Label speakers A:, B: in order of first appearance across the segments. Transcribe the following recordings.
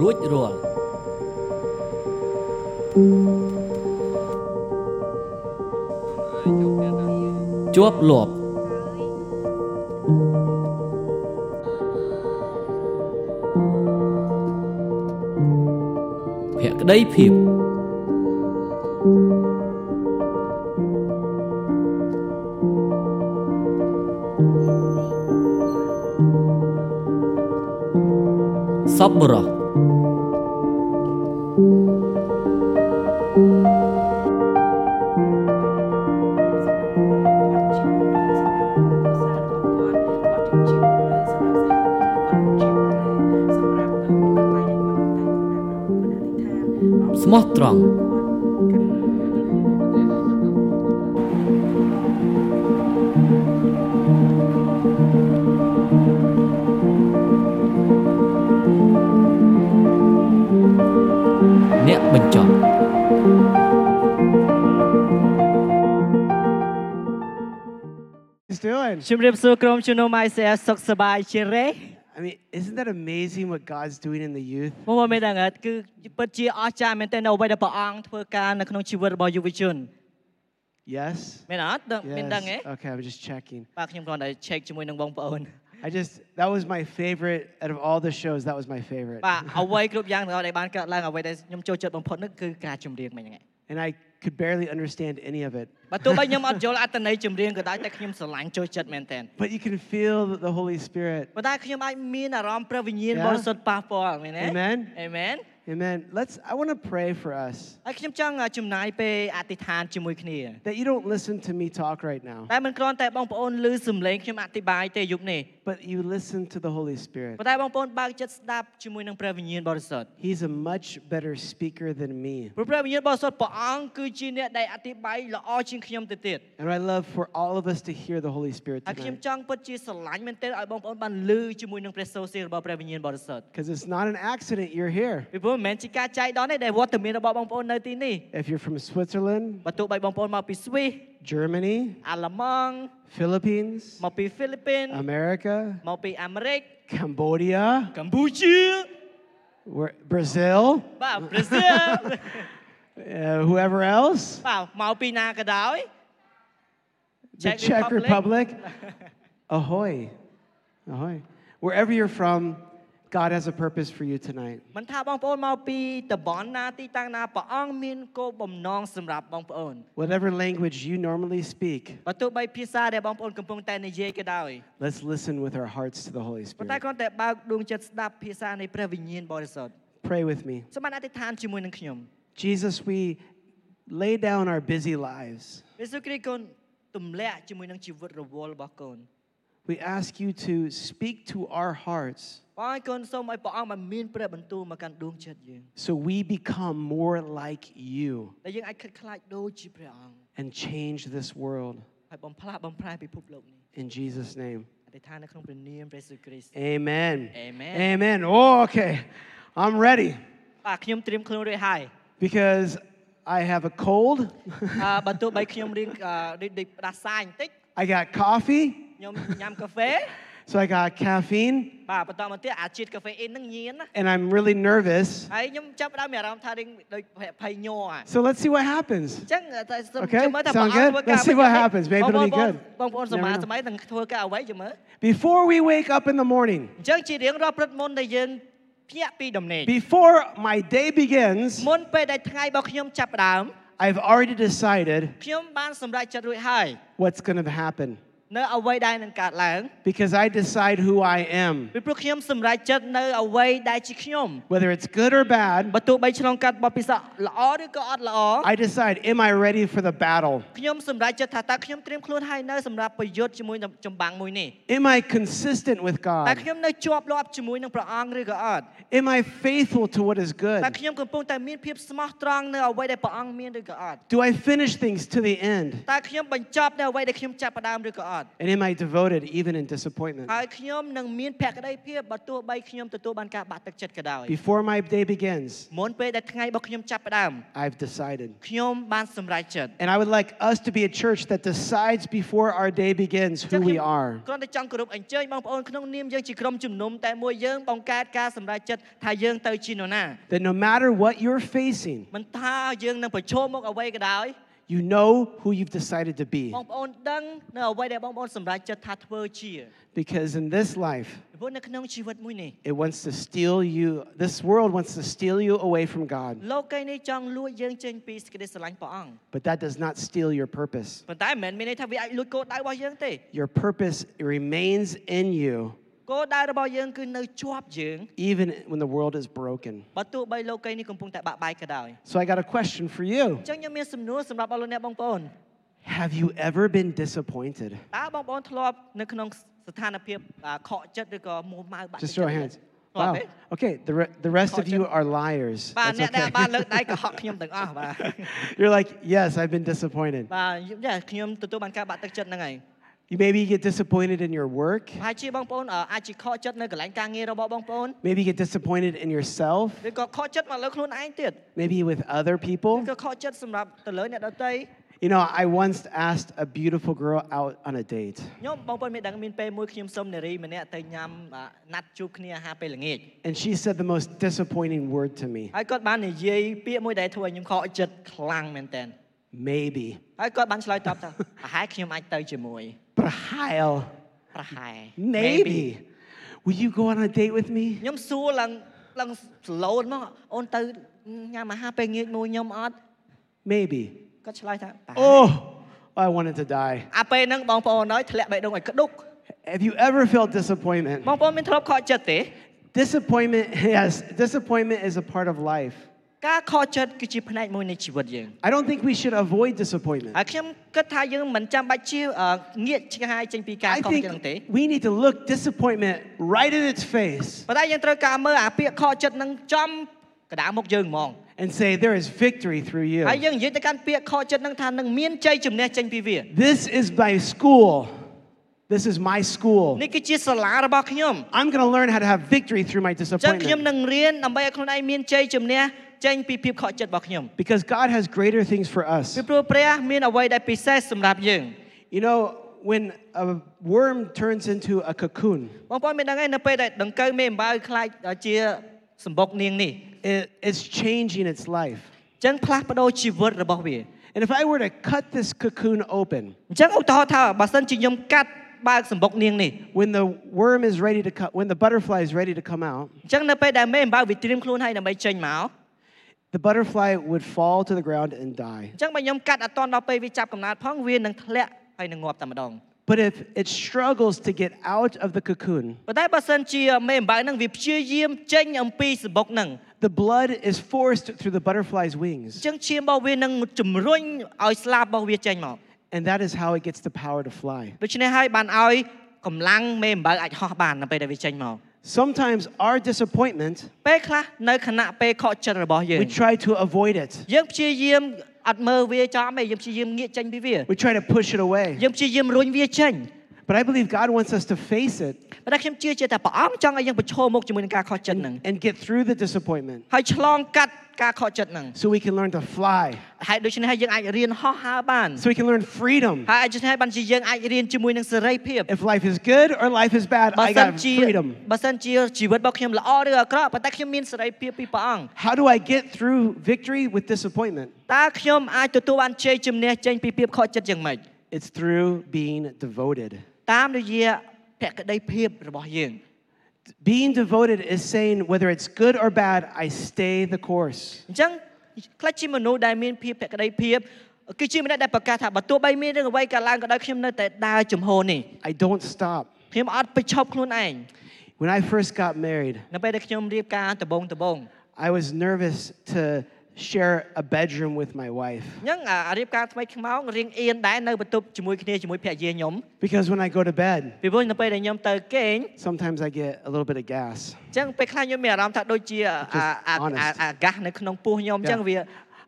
A: រួចរាល់ជាប់លាប់ភក្តីភាពសប្បុរសស្មោះត្រង់អ្នកបញ្ចប់
B: he's doing.
C: ជំរាបសួរក្រុមជំនុំ ICF សុខសប្បាយជារេ
B: I mean, isn't that amazing what God's doing in the youth?
C: មកមកមែនដល់ហ្នឹងគឺពិតជាអស្ចារ្យមែនទែននៅអ្វីដែលព្រះអង្គធ្វើការនៅក្នុងជីវិតរបស់យុវជន
B: Yes.
C: មែនអត់ដឹងមែនដឹងទេ
B: Yes. Okay, I'm just checking.
C: បាទខ្ញុំគ្រាន់តែ check ជាមួយនឹងបងប្អូន
B: I just that was my favorite out of all the shows. That was my favorite.
C: បាទអ្វីគ្រប់យ៉ាងទាំងអស់ដែលបានកើតឡើងអ្វីដែលខ្ញុំចូលចិត្តបំផុតនោះគឺការចម្រៀងមួយហ្នឹងឯង
B: And I could barely understand any of it.
C: បាទទោះបីខ្ញុំអត់យល់អត្ថន័យចម្រៀងក៏ដោយតែខ្ញុំស្រឡាញ់ចូលចិត្តមែនទែន
B: But you can feel the Holy Spirit.
C: ប៉ុន្តែខ្ញុំអាចមានអារម្មណ៍ព្រះវិញ្ញាណ
B: Yeah.
C: បរិសុទ្ធប៉ះពាល់មែនទេ
B: Amen.
C: អេមែន
B: Amen. Let's. I want to pray for us
C: ហើយខ្ញុំចង់ចំណាយពេលអធិដ្ឋានជាមួយគ្នា
B: that you don't listen to me talk right now,
C: តែមិនគ្រាន់តែបងប្អូនឮសំឡេងខ្ញុំអធិប្បាយទេយប់នេះ
B: but you listen to the Holy Spirit.
C: ប៉ុន្តែបងប្អូនបើកចិត្តស្ដាប់ជាមួយនឹងព្រះវិញ្ញាណបរិសុទ្ធ
B: He's a much better speaker than me.
C: ព្រោះព្រះវិញ្ញាណបរិសុទ្ធព្រះអង្គគឺជាអ្នកដែលអធិប្បាយល្អជាងខ្ញុំទៅទៀត
B: And I love for all of us to hear the Holy Spirit
C: ហើយខ្ញុំ
B: tonight
C: ចង់ពិតជាស្រឡាញ់មែនទែនឲ្យបងប្អូនបានឮជាមួយនឹងព្រះសូរសៀងរបស់ព្រះវិញ្ញាណបរិសុទ្ធ
B: because it's not an accident you're here.
C: ពីព្រោះមិនមែនជាការចៃដន្យទេដែលវត្តមានរបស់បងប្អូននៅទីនេះ
B: If you're from Switzerland,
C: បើទោះបីបងប្អូនមកពីស្វីស
B: Germany,
C: អាល្លឺម៉ង់
B: Philippines,
C: មកពីហ្វីលីពីន
B: America,
C: មកពីអាមេរិក
B: Cambodia,
C: កម្ពុជា
B: where- Brazil,
C: បាទប្រេស៊ីល
B: uh, whoever else,
C: បាទមកពីណាក៏ដោយ
B: the Czech Republic. Ahoy. Ahoy. Wherever you're from, God has a purpose for you tonight.
C: មិនថាបងប្អូនមកពីតំបន់ណាទីតាំងណាព្រះអង្គមានគោលបំណងសម្រាប់បងប្អូន
B: Whatever language you normally speak,
C: បើទោះបីភាសាដែលបងប្អូនកំពុងតែនិយាយក៏ដោយ
B: let's listen with our hearts to the Holy
C: ប៉ុន្តែ
B: Spirit.
C: គ្រាន់តែបើកដួងចិត្តស្ដាប់ភាសានៃព្រះវិញ្ញាណបរិសុទ្ធ
B: Pray with me.
C: សូមបានអធិដ្ឋានជាមួយនឹងខ្ញុំ
B: Jesus, we lay down our busy lives.
C: ព្រះយេស៊ូវគ្រីស្ទកូនទម្លាក់ជាមួយនឹងជីវិតរវល់របស់កូន
B: We ask you to speak to our hearts
C: បងឲ្យកូនសូមឲ្យព្រះអង្គបានមានព្រះបន្ទូលមកកាន់ដួងចិត្តយើង
B: so we become more like you
C: ដែលយើងអាចខិតខ្លាចដូចជាព្រះអង្គ
B: and change this world.
C: ហើយបំផ្លាស់បំប្រែពិភពលោកនេះ
B: In Jesus' name.
C: អធិដ្ឋាននៅក្នុងព្រះនាមព្រះយេស៊ូវគ្រីស្ទ
B: Amen.
C: Amen.
B: Amen. Oh, okay. I'm ready
C: បាទខ្ញុំត្រៀមខ្លួនរួចហើយ
B: because I have a cold,
C: អឺបើទោះបីខ្ញុំរៀងអឺដូចផ្ដាសាយបន្តិច
B: I got coffee,
C: ខ្ញុំញ៉ាំកាហ្វេ
B: so I got caffeine,
C: បាទបន្តមកទៀតអាជាតិកាហ្វេអ៊ីនហ្នឹងញៀនណា
B: and I'm really nervous.
C: ហើយខ្ញុំចាប់ផ្ដើមមានអារម្មណ៍ថារៀងដូចភ័យញ័រអ
B: So let's see what happens.
C: ញ្ចឹងតែសូម
B: Okay,
C: ចាំមើលថា
B: sound
C: ព្រះអង្គ
B: good? Let's
C: ធ្វើការ
B: see what happens. Maybe it'll be
C: បងប្អូន
B: good.
C: បងប្អូន
B: Never
C: សម័យ
B: know.
C: សម័យនឹងធ្វើការអ្វីចាំមើល
B: Before we wake up in the morning,
C: អញ្ចឹងជារៀងរាល់ព្រឹកមុនដែលយើងភ្ញាក់ពីដំណេក
B: before my day begins,
C: មុនពេលដែលថ្ងៃរបស់ខ្ញុំចាប់ផ្ដើម
B: I've already decided
C: ខ្ញុំបានសម្រេចចិត្តរួចហើយ
B: what's going to happen
C: នៅអ្វីដែលនឹងកើតឡើង
B: because I decide who I am.
C: ពីព្រោះខ្ញុំសម្រេចចិត្តនៅអ្វីដែលជាខ្ញុំ
B: Whether it's good or bad,
C: បើទោះបីឆ្លងកាត់បទពិសោធន៍ល្អឬក៏អត់ល្អ
B: I decide, am I ready for the battle?
C: ខ្ញុំសម្រេចចិត្តថាតើខ្ញុំត្រៀមខ្លួនហើយនៅសម្រាប់ប្រយុទ្ធជាមួយនឹងចម្បាំងមួយនេះ
B: Am I consistent with
C: តើ
B: God?
C: ខ្ញុំនៅជាប់លាប់ជាមួយនឹងព្រះអង្គឬក៏អត់
B: Am I faithful to what is
C: តើ
B: good?
C: ខ្ញុំកំពុងតែមានភាពស្មោះត្រង់នៅអ្វីដែលព្រះអង្គមានឬក៏អត់
B: Do I finish things to the end?
C: តើខ្ញុំបញ្ចប់នៅអ្វីដែលខ្ញុំចាប់ផ្ដើមឬក៏អ God
B: And am I devoted even in disappointment?
C: ហើយខ្ញុំនឹងមានភក្ដីភាពបើទោះបីខ្ញុំទទួលបានការបាក់ទឹកចិត្តក៏ដោយ
B: Before my day begins,
C: មុនពេលដែលថ្ងៃរបស់ខ្ញុំចាប់ផ្ដើម
B: I've decided.
C: ខ្ញុំបានសម្រេចចិត្ត
B: And I would like us to be a church that decides before our day begins
C: ចឹ
B: who
C: ងខ្ញុំ
B: we are.
C: គ្រាន់តែចង់គោរពអញ្ជើញបងប្អូនក្នុងនាមយើងជាក្រុមជំនុំតែមួយយើងបង្កើតការសម្រេចចិត្តថាយើងទៅជានរណា
B: That no matter what you're facing,
C: មិនថាយើងនឹងប្រឈមមុខអ្វីក៏ដោយ
B: you know who you've decided to be.
C: បងប្អូនដឹងនៅអ្វីដែលបងប្អូនសម្រេចចិត្តថាធ្វើជា
B: Because in this life,
C: ពីព្រោះនៅក្នុងជីវិតមួយនេះ
B: it wants to steal you, this world wants to steal you away from God.
C: លោកីនេះចង់លួចយើងចេញពីសេចក្តីស្រឡាញ់ព្រះអង្គ
B: But that does not steal your purpose.
C: ប៉ុន្តែមិនមែនមានន័យថាវាអាចលួចគោលដៅរបស់យើងទេ
B: Your purpose remains in you
C: គោលដៅរបស់យើងគឺនៅជាប់យើង
B: even when the world is broken.
C: បើទោះបីលោកីនេះកំពុងតែបាក់បែកក៏ដោយ
B: So I got a question for you.
C: អញ្ចឹងខ្ញុំមានសំណួរសម្រាប់អស់លោកអ្នកបងប្អូន
B: Have you ever been disappointed?
C: តើបងប្អូនធ្លាប់នៅក្នុងស្ថានភាពអាខកចិត្តឬក៏មួម៉ៅបាក់ទឹក
B: Just show
C: ចិ
B: of
C: ត្តធ្លា
B: hands.
C: ប់
B: Wow.
C: ទេ
B: Okay, the, re- the rest of you are liars.
C: បាទ
B: That's
C: អ្នកដែល
B: okay.
C: បានលើកដៃក៏ហក់ខ្ញុំទាំងអស់បាទ
B: You're like, yes, I've been disappointed.
C: បាទយ៉ាខ្ញុំទទួលបានការបាក់ទឹកចិត្តហ្នឹងហើយ
B: You maybe get disappointed in your work.
C: ហើយជាបងប្អូនអ่าអាចជាខកចិត្តនៅកន្លែងការងាររបស់បងប្អូន
B: Maybe you get disappointed in yourself.
C: ឬក៏ខកចិត្តមកលើខ្លួនឯងទៀត
B: Maybe with other
C: ឬ
B: people.
C: ក៏ខកចិត្តសម្រាប់ទៅលើអ្នកដទៃ
B: You know, I once asked a beautiful girl out on a date,
C: ខ្ញុំបងប្អូនមានដឹងមានពេលមួយខ្ញុំសុំនារីម្នាក់ទៅញ៉ាំអ่าណាត់ជួបគ្នាអាហារពេលល្ងាច
B: and she said the most disappointing word to me
C: ហើយគាត់បាននិយាយពាក្យមួយដែលធ្វើឲ្យខ្ញុំខកចិត្តខ្លាំងមែនតើ
B: maybe.
C: ហើយគាត់បានឆ្លើយតបថា ប្រហែលខ្ញុំអាចទៅជាមួយ
B: Prahail.
C: ប្រហែល
B: Maybe. Will you go on a date with me?
C: ខ្ញុំសួរឡើងឡើងស្លូនមកអូនទៅញ៉ាំអាហារពេលងាកមួយខ្ញុំអត់
B: Maybe.
C: គាត់ឆ្លើយថាប្រហែល
B: Oh, I wanted to die.
C: អាពេលហ្នឹងបងប្អូនអើយធ្លាក់បេះដូងឲ្យក្ដុក
B: Have you ever felt disappointment?
C: បងប្អូនមានធ្លាប់ខកចិត្តទេ
B: Disappointment, yes, disappointment is a part of life.
C: ការខកចិត្តគឺជាផ្នែកមួយនៃជីវិតយើង
B: I don't think we should avoid disappointment.
C: ហើយខ្ញុំគិតថាយើងមិនចាំបាច់ជាអឺងាកឆ្ងាយចេញពីការ
B: I
C: ខកចិត្ត
B: think
C: ហ្នឹងទេ
B: we need to look disappointment right in its face
C: ប៉ុន្តែយើងត្រូវការមើលអាពាក្យខកចិត្តហ្នឹងចំកណ្ដាលមុខយើងហ្មង
B: and say, There is victory through
C: ហើយ
B: you.
C: យើងនិយាយទៅកាន់ពាក្យខកចិត្តហ្នឹងថានឹងមានជ័យជំនះចេញពីវា
B: This is my school. This is my school.
C: នេះគឺជាសាលារបស់ខ្ញុំ
B: I'm going to learn how to have victory through my
C: អញ្ចឹងខ្ញុំ
B: disappointment
C: នឹងរៀនដើម្បីឲ្យខ្លួនឯងមានជ័យជំនះចេញពីភាពខកចិត្តរបស់ខ្ញុំ
B: because God has greater things for us.
C: ពីព្រោះព្រះមានអ្វីដែលពិសេសសម្រាប់យើង
B: You know, when a worm turns into a cocoon,
C: បងប្អូនមានដឹងទេនៅពេលដែលដង្កូវមេអំបៅខ្លាចជាសម្បុកនាងនេះ
B: it, it's changing its life.
C: អញ្ចឹងផ្លាស់ប្ដូរជីវិតរបស់វា
B: And if I were to cut this cocoon open,
C: អញ្ចឹងឧទាហរណ៍ថាបើសិនជាខ្ញុំកាត់បើកសម្បុកនាងនេះ
B: when the worm is ready to come, when the butterfly is ready to come out,
C: អញ្ចឹងនៅពេលដែលមេអំបៅវាត្រៀមខ្លួនហើយដើម្បីចេញមក
B: the butterfly would fall to the ground and die.
C: អញ្ចឹងបើខ្ញុំកាត់អត់តន់ដល់ពេលវាចាប់កំណើតផងវានឹងធ្លាក់ហើយនឹងងាប់តែម្ដង
B: But if it struggles to get out of the cocoon,
C: ប៉ុន្តែបើសិនជាមេអំបៅហ្នឹងវាព្យាយាមចេញអំពីសម្បុកហ្នឹង
B: the blood is forced through the butterfly's
C: អ
B: wings,
C: ញ្ចឹងឈាមរបស់វានឹងជំរុញឲ្យស្លាបរបស់វាចេញមក
B: and that is how it gets the power to fly.
C: ដូច្នេះហើយបានឲ្យកម្លាំងមេអំបៅអាចហោះបាននៅពេលដែលវាចេញមក
B: Sometimes our disappointment,
C: ពេលខ្លះនៅខណៈពេលខកចិត្តរបស់យើង
B: we try to avoid it.
C: យើងព្យាយាមអត់មើលវាចំទេយើងព្យាយាមងាកចេញពីវា
B: We try to push it away.
C: យើងព្យាយាមរុញវាចេញ
B: But I believe God wants us to face it
C: ប៉ុន្តែខ្ញុំជឿជាក់ថាព្រះអង្គចង់ឲ្យយើងប្រឈមមុខជាមួយនឹងការខកចិត្តហ្នឹង
B: and get through the disappointment
C: ហើយឆ្លងកាត់ការខកចិត្តហ្នឹង
B: so we can learn to fly,
C: ហើយដូច្នេះហើយយើងអាចរៀនហោះហើរបាន
B: so we can learn freedom.
C: ហើយដូច្នេះហើយបានជាយើងអាចរៀនជាមួយនឹងសេរីភាព
B: If life is good or life is bad,
C: បើ
B: I
C: សិន
B: got
C: ជា
B: freedom.
C: បើសិនជាជីវិតរបស់ខ្ញុំល្អឬអាក្រក់ប៉ុន្តែខ្ញុំមានសេរីភាពពីព្រះអង្គ
B: How do I get through victory with disappointment?
C: តើខ្ញុំអាចទទួលបានជ័យជំនះចេញពីភាពខកចិត្តយ៉ាងម៉េច
B: It's through being devoted.
C: តាមរយៈភក្តីភាពរបស់យើង
B: Being devoted is saying whether it's good or bad, I stay the course.
C: អញ្ចឹងខ្លះជាមនុស្សដែលមានភាពភក្តីភាពគឺជាម្នាក់ដែលប្រកាសថាបើទោះបីមានរឿងអ្វីកើតឡើងក៏ដោយខ្ញុំនៅតែដើរជំហរនេះ
B: I don't stop.
C: ខ្ញុំអត់បញ្ឈប់ខ្លួនឯង
B: When I first got married,
C: នៅពេលដែលខ្ញុំរៀបការដំបងដំបង
B: I was nervous to share a bedroom with my wife
C: អញ្ចឹងអារៀបការថ្មីខ្មោងរៀងអៀនដែរនៅបន្ទប់ជាមួយគ្នាជាមួយភរិយាខ្ញុំ
B: because when I go to bed,
C: ពីព្រោះនៅពេលដែលខ្ញុំទៅគេង
B: sometimes I get a little bit of gas.
C: អញ្ចឹងពេលខ្លះខ្ញុំមានអារម្មណ៍ថាដូចជាអា
B: Just
C: អា
B: honest.
C: អាអាកាសនៅក្នុងពោះខ្ញុំអញ្ចឹង
B: Yeah.
C: វា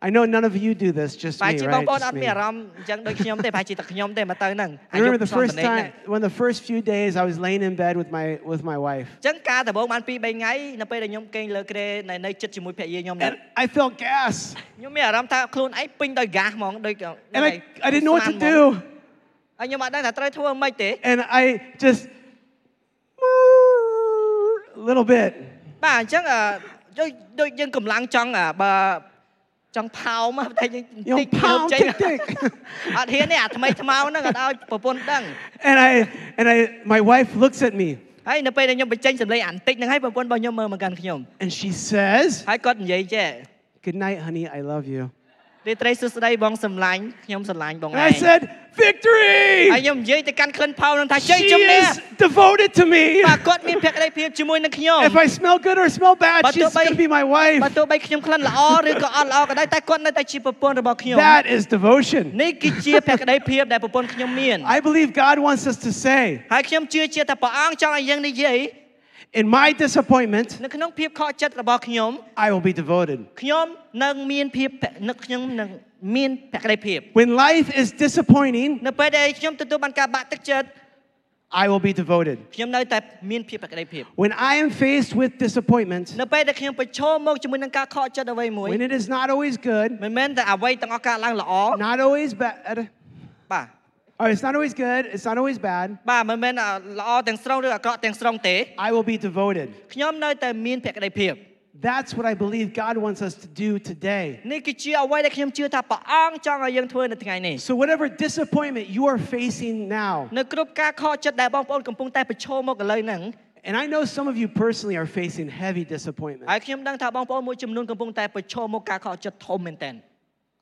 B: I know none of you do this, just
C: ប្រហែល
B: me,
C: ជាបង
B: right?
C: ប្អូនអ
B: Just
C: ត់
B: me.
C: មានអារម្មណ៍អញ្ចឹងដូចខ្ញុំទេប្រហែលជាតែខ្ញុំទេមកទៅហ្នឹង
B: I
C: អាយុ
B: remember the
C: ស
B: first
C: ន្តានហ្នឹង
B: time, one of the first few days, I was laying in bed with my with my wife,
C: អញ្ចឹងការដំបូងបាន2 3ថ្ងៃនៅពេលដែលខ្ញុំគេងលើគ្រែនៅនៅចិត្តជាមួយភរិយាខ្ញុំហ្នឹង
B: and I felt gas,
C: ខ្ញុំមានអារម្មណ៍ថាខ្លួនឯងពេញដោយហ្គាសហ្មងដូច
B: and I I didn't know what to do,
C: ហើយខ្ញុំអត់ដឹងថាត្រូវធ្វើម៉េចទេ
B: and I just a little bit,
C: បាទអញ្ចឹងអឺដូចដូចយើងកំឡាំងចង់អ่ะបើចង់ផោម តែយើង
B: you know,
C: តិចហូប
B: pound
C: ចេញ
B: tick tick,
C: អត់ហ៊ានទេអាថ្មីថ្មោហ្នឹងអត់ឲ្យប្រពន្ធដឹង
B: and I and I my wife looks at me
C: ហើយនៅពេលដែលខ្ញុំបញ្ចេញសម្លេងអាបន្តិចហ្នឹងហើយប្រពន្ធរបស់ខ្ញុំមើលមកកាន់ខ្ញុំ
B: and she says,
C: ហើយគាត់និយាយចេះ
B: "Good night, honey, I love you."
C: រាត្រីសួស្ដីបងសម្លាញ់ខ្ញុំសម្លាញ់បងឯ
B: And
C: ង
B: I said,
C: ហើយ
B: "Victory!"
C: ខ្ញុំនិយាយទៅកាន់ក្លិនផោហ្នឹងថាជ័យ
B: She
C: ជំនះ
B: is devoted to me.
C: បាទគាត់មានភក្ដីភាពជាមួយនឹងខ្ញុំ
B: If I smell good or smell bad,
C: But
B: she's
C: nobody-
B: going to be my
C: បើ
B: wife.
C: ទោះបីខ្ញុំក្លិនល្អឬក៏អត់ល្អក៏ដោយតែគាត់នៅតែជាប្រពន្ធរបស់ខ្ញុំ
B: That is devotion.
C: នេះគឺជាភក្ដីភាពដែលប្រពន្ធខ្ញុំមាន
B: I believe God wants us to say,
C: ហើយខ្ញុំជឿជាក់ថាព្រះអង្គចង់ឲ្យយើងនិយាយ
B: in my disappointment,
C: នៅក្នុងភាពខកចិត្តរបស់ខ្ញុំ
B: I will be devoted.
C: ខ្ញុំនឹងមានភាពភនឹកខ្ញុំនឹងមានភក្ដីភាព
B: When life is disappointing,
C: នៅពេលដែលខ្ញុំទទួលបានការបាក់ទឹកចិត្ត
B: I will be devoted.
C: ខ្ញុំនៅតែមានភាពភក្ដីភាព
B: When I am faced with disappointment,
C: នៅពេលដែលខ្ញុំប្រឈមមុខជាមួយនឹងការខកចិត្តអ្វីមួយ
B: when it is not always good,
C: មិនមែនតែអ្វីទាំងអស់ការឡើងល្អ
B: not always bad,
C: បាទ
B: or it's not always good, it's not always bad,
C: បាទមិនមែនល្អទាំងស្រុងឬអាក្រក់ទាំងស្រុងទេ
B: I will be devoted.
C: ខ្ញុំនៅតែមានភក្ដីភាព
B: That's what I believe God wants us to do today.
C: នេះគឺជាអ្វីដែលខ្ញុំជឿថាព្រះអង្គចង់ឲ្យយើងធ្វើនៅថ្ងៃនេះ
B: So, whatever disappointment you are facing now,
C: នៅគ្រប់ការខកចិត្តដែលបងប្អូនកំពុងតែប្រឈមមុខឥឡូវហ្នឹង
B: and I know some of you personally are facing heavy disappointment.
C: ហើយខ្ញុំដឹងថាបងប្អូនមួយចំនួនកំពុងតែប្រឈមមុខការខកចិត្តធំមែនទែន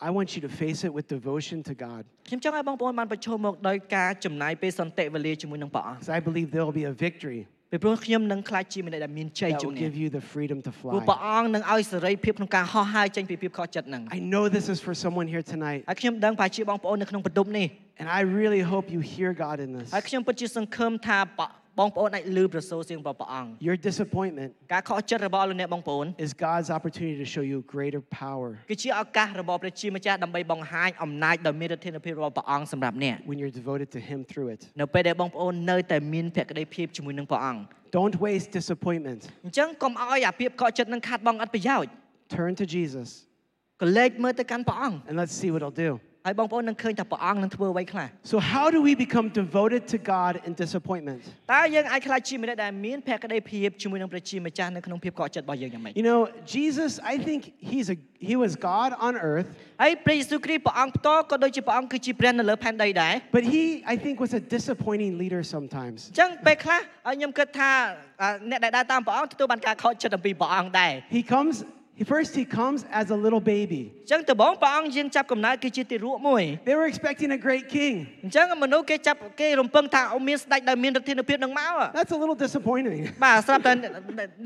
B: I want you to face it with devotion to God
C: ខ្ញុំចង់ឲ្យបងប្អូនបានប្រឈមមុខដោយការចំណាយពេលសន្តិវេលាជាមួយនឹងព្រះអង្គ
B: because I believe there will be a victory
C: ពីព្រោះខ្ញុំនឹងខ្លាចជាមនុស្សដែលមានជ័យ
B: that
C: ជំ
B: will
C: នះ
B: give you the freedom to
C: ព្រោះព្រះ
B: fly.
C: អង្គនឹងឲ្យសេរីភាពក្នុងការហោះហើរចេញពីភាពខកចិត្តហ្នឹង
B: I know this is for someone here tonight,
C: ហើយខ្ញុំដឹងប្រហែលជាបងប្អូននៅក្នុងបន្ទប់នេះ
B: and I really hope you hear God in this.
C: ហើយខ្ញុំពិតជាសង្ឃឹមថាបងបងប្អូនអាចលឺប្រសូរសៀងរបស់ព្រះអង្គ
B: Your disappointment
C: ការខកចិត្តរបស់លោកអ្នកបងប្អូន
B: is God's opportunity to show you greater power
C: គឺជាឱកាសរបស់ព្រះជាម្ចាស់ដើម្បីបង្ហាញអំណាចដ៏មានឫទ្ធានុភាពរបស់ព្រះអង្គសម្រាប់អ្នក
B: when you're devoted to Him through it.
C: នៅពេលដែលបងប្អូននៅតែមានភក្ដីភាពជាមួយនឹងព្រះអង្គ
B: Don't waste disappointment.
C: អញ្ចឹងកុំឲ្យអាភាពខកចិត្តនឹងខាត់បងអត់ប្រយោជន៍
B: Turn to Jesus,
C: ក៏លេចមើលទៅកាន់ព្រះអង្គ
B: and let's see what He'll do.
C: ហើយបងប្អូននឹងឃើញថាព្រះអង្គនឹងធ្វើអ្វីខ្លះ
B: So, how do we become devoted to God in disappointment?
C: តើយើងអាចខ្លាចជាមនុស្សដែលមានភក្ដីភាពជាមួយនឹងព្រះជាម្ចាស់នៅក្នុងភាពខកចិត្តរបស់យើងយ៉ាងម៉េច
B: You know, Jesus, I think he's a, He was God on earth,
C: ហើយព្រះយេស៊ូវគ្រីស្ទព្រះអង្គផ្ទាល់ក៏ដូចជាព្រះអង្គគឺជាព្រះនៅលើផែនដីដែរ
B: but He, I think, was a disappointing leader sometimes.
C: អញ្ចឹងពេលខ្លះឲ្យខ្ញុំគិតថាអាអ្នកដែលដើរតាមព្រះអង្គទទួលបានការខកចិត្តអំពីព្រះអង្គដែរ
B: He comes, he- first he comes as a little baby.
C: អញ្ចឹងដំបងព្រះអង្គយើងចាប់កំណើតគឺជាទារកមួយ
B: They were expecting a great king.
C: អញ្ចឹងមនុស្សគេចាប់គេរំពឹងថាអូមានស្ដេចដែលមានឫទ្ធានុភាពនឹងមក
B: That's a little disappointing.
C: បាទស្រាប់តែ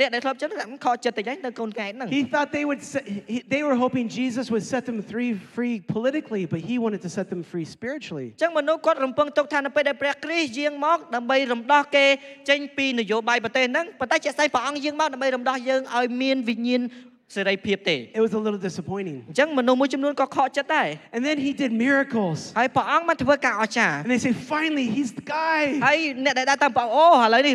C: អ្នកដែលធ្លាប់ចឹងខកចិត្តតិចហ្នឹងទៅកូនកែកហ្នឹង
B: He thought they would, se- he, they were hoping Jesus would set them three free politically, but he wanted to set them free spiritually.
C: អញ្ចឹងមនុស្សគាត់រំពឹងទុកថានៅពេលដែលព្រះគ្រីស្ទយាងមកដើម្បីរំដោះគេចេញពីនយោបាយប្រទេសហ្នឹងប៉ុន្តែជាក់ស្ដែងព្រះអង្គយាងមកដើម្បីរំដោះយើងឲ្យមានវិញ្ញាណសេរីភាពទេ
B: It was a little disappointing.
C: អញ្ចឹងមនុស្សមួយចំនួនក៏ខកចិត្តដែរ
B: And then he did miracles.
C: ហើយព្រះអង្គបានធ្វើការអស្ចារ្យ
B: And they say, finally, he's the guy.
C: ហើយអ្នកដែលដើរតាមព្រះអង្គអូឥឡូវនេះ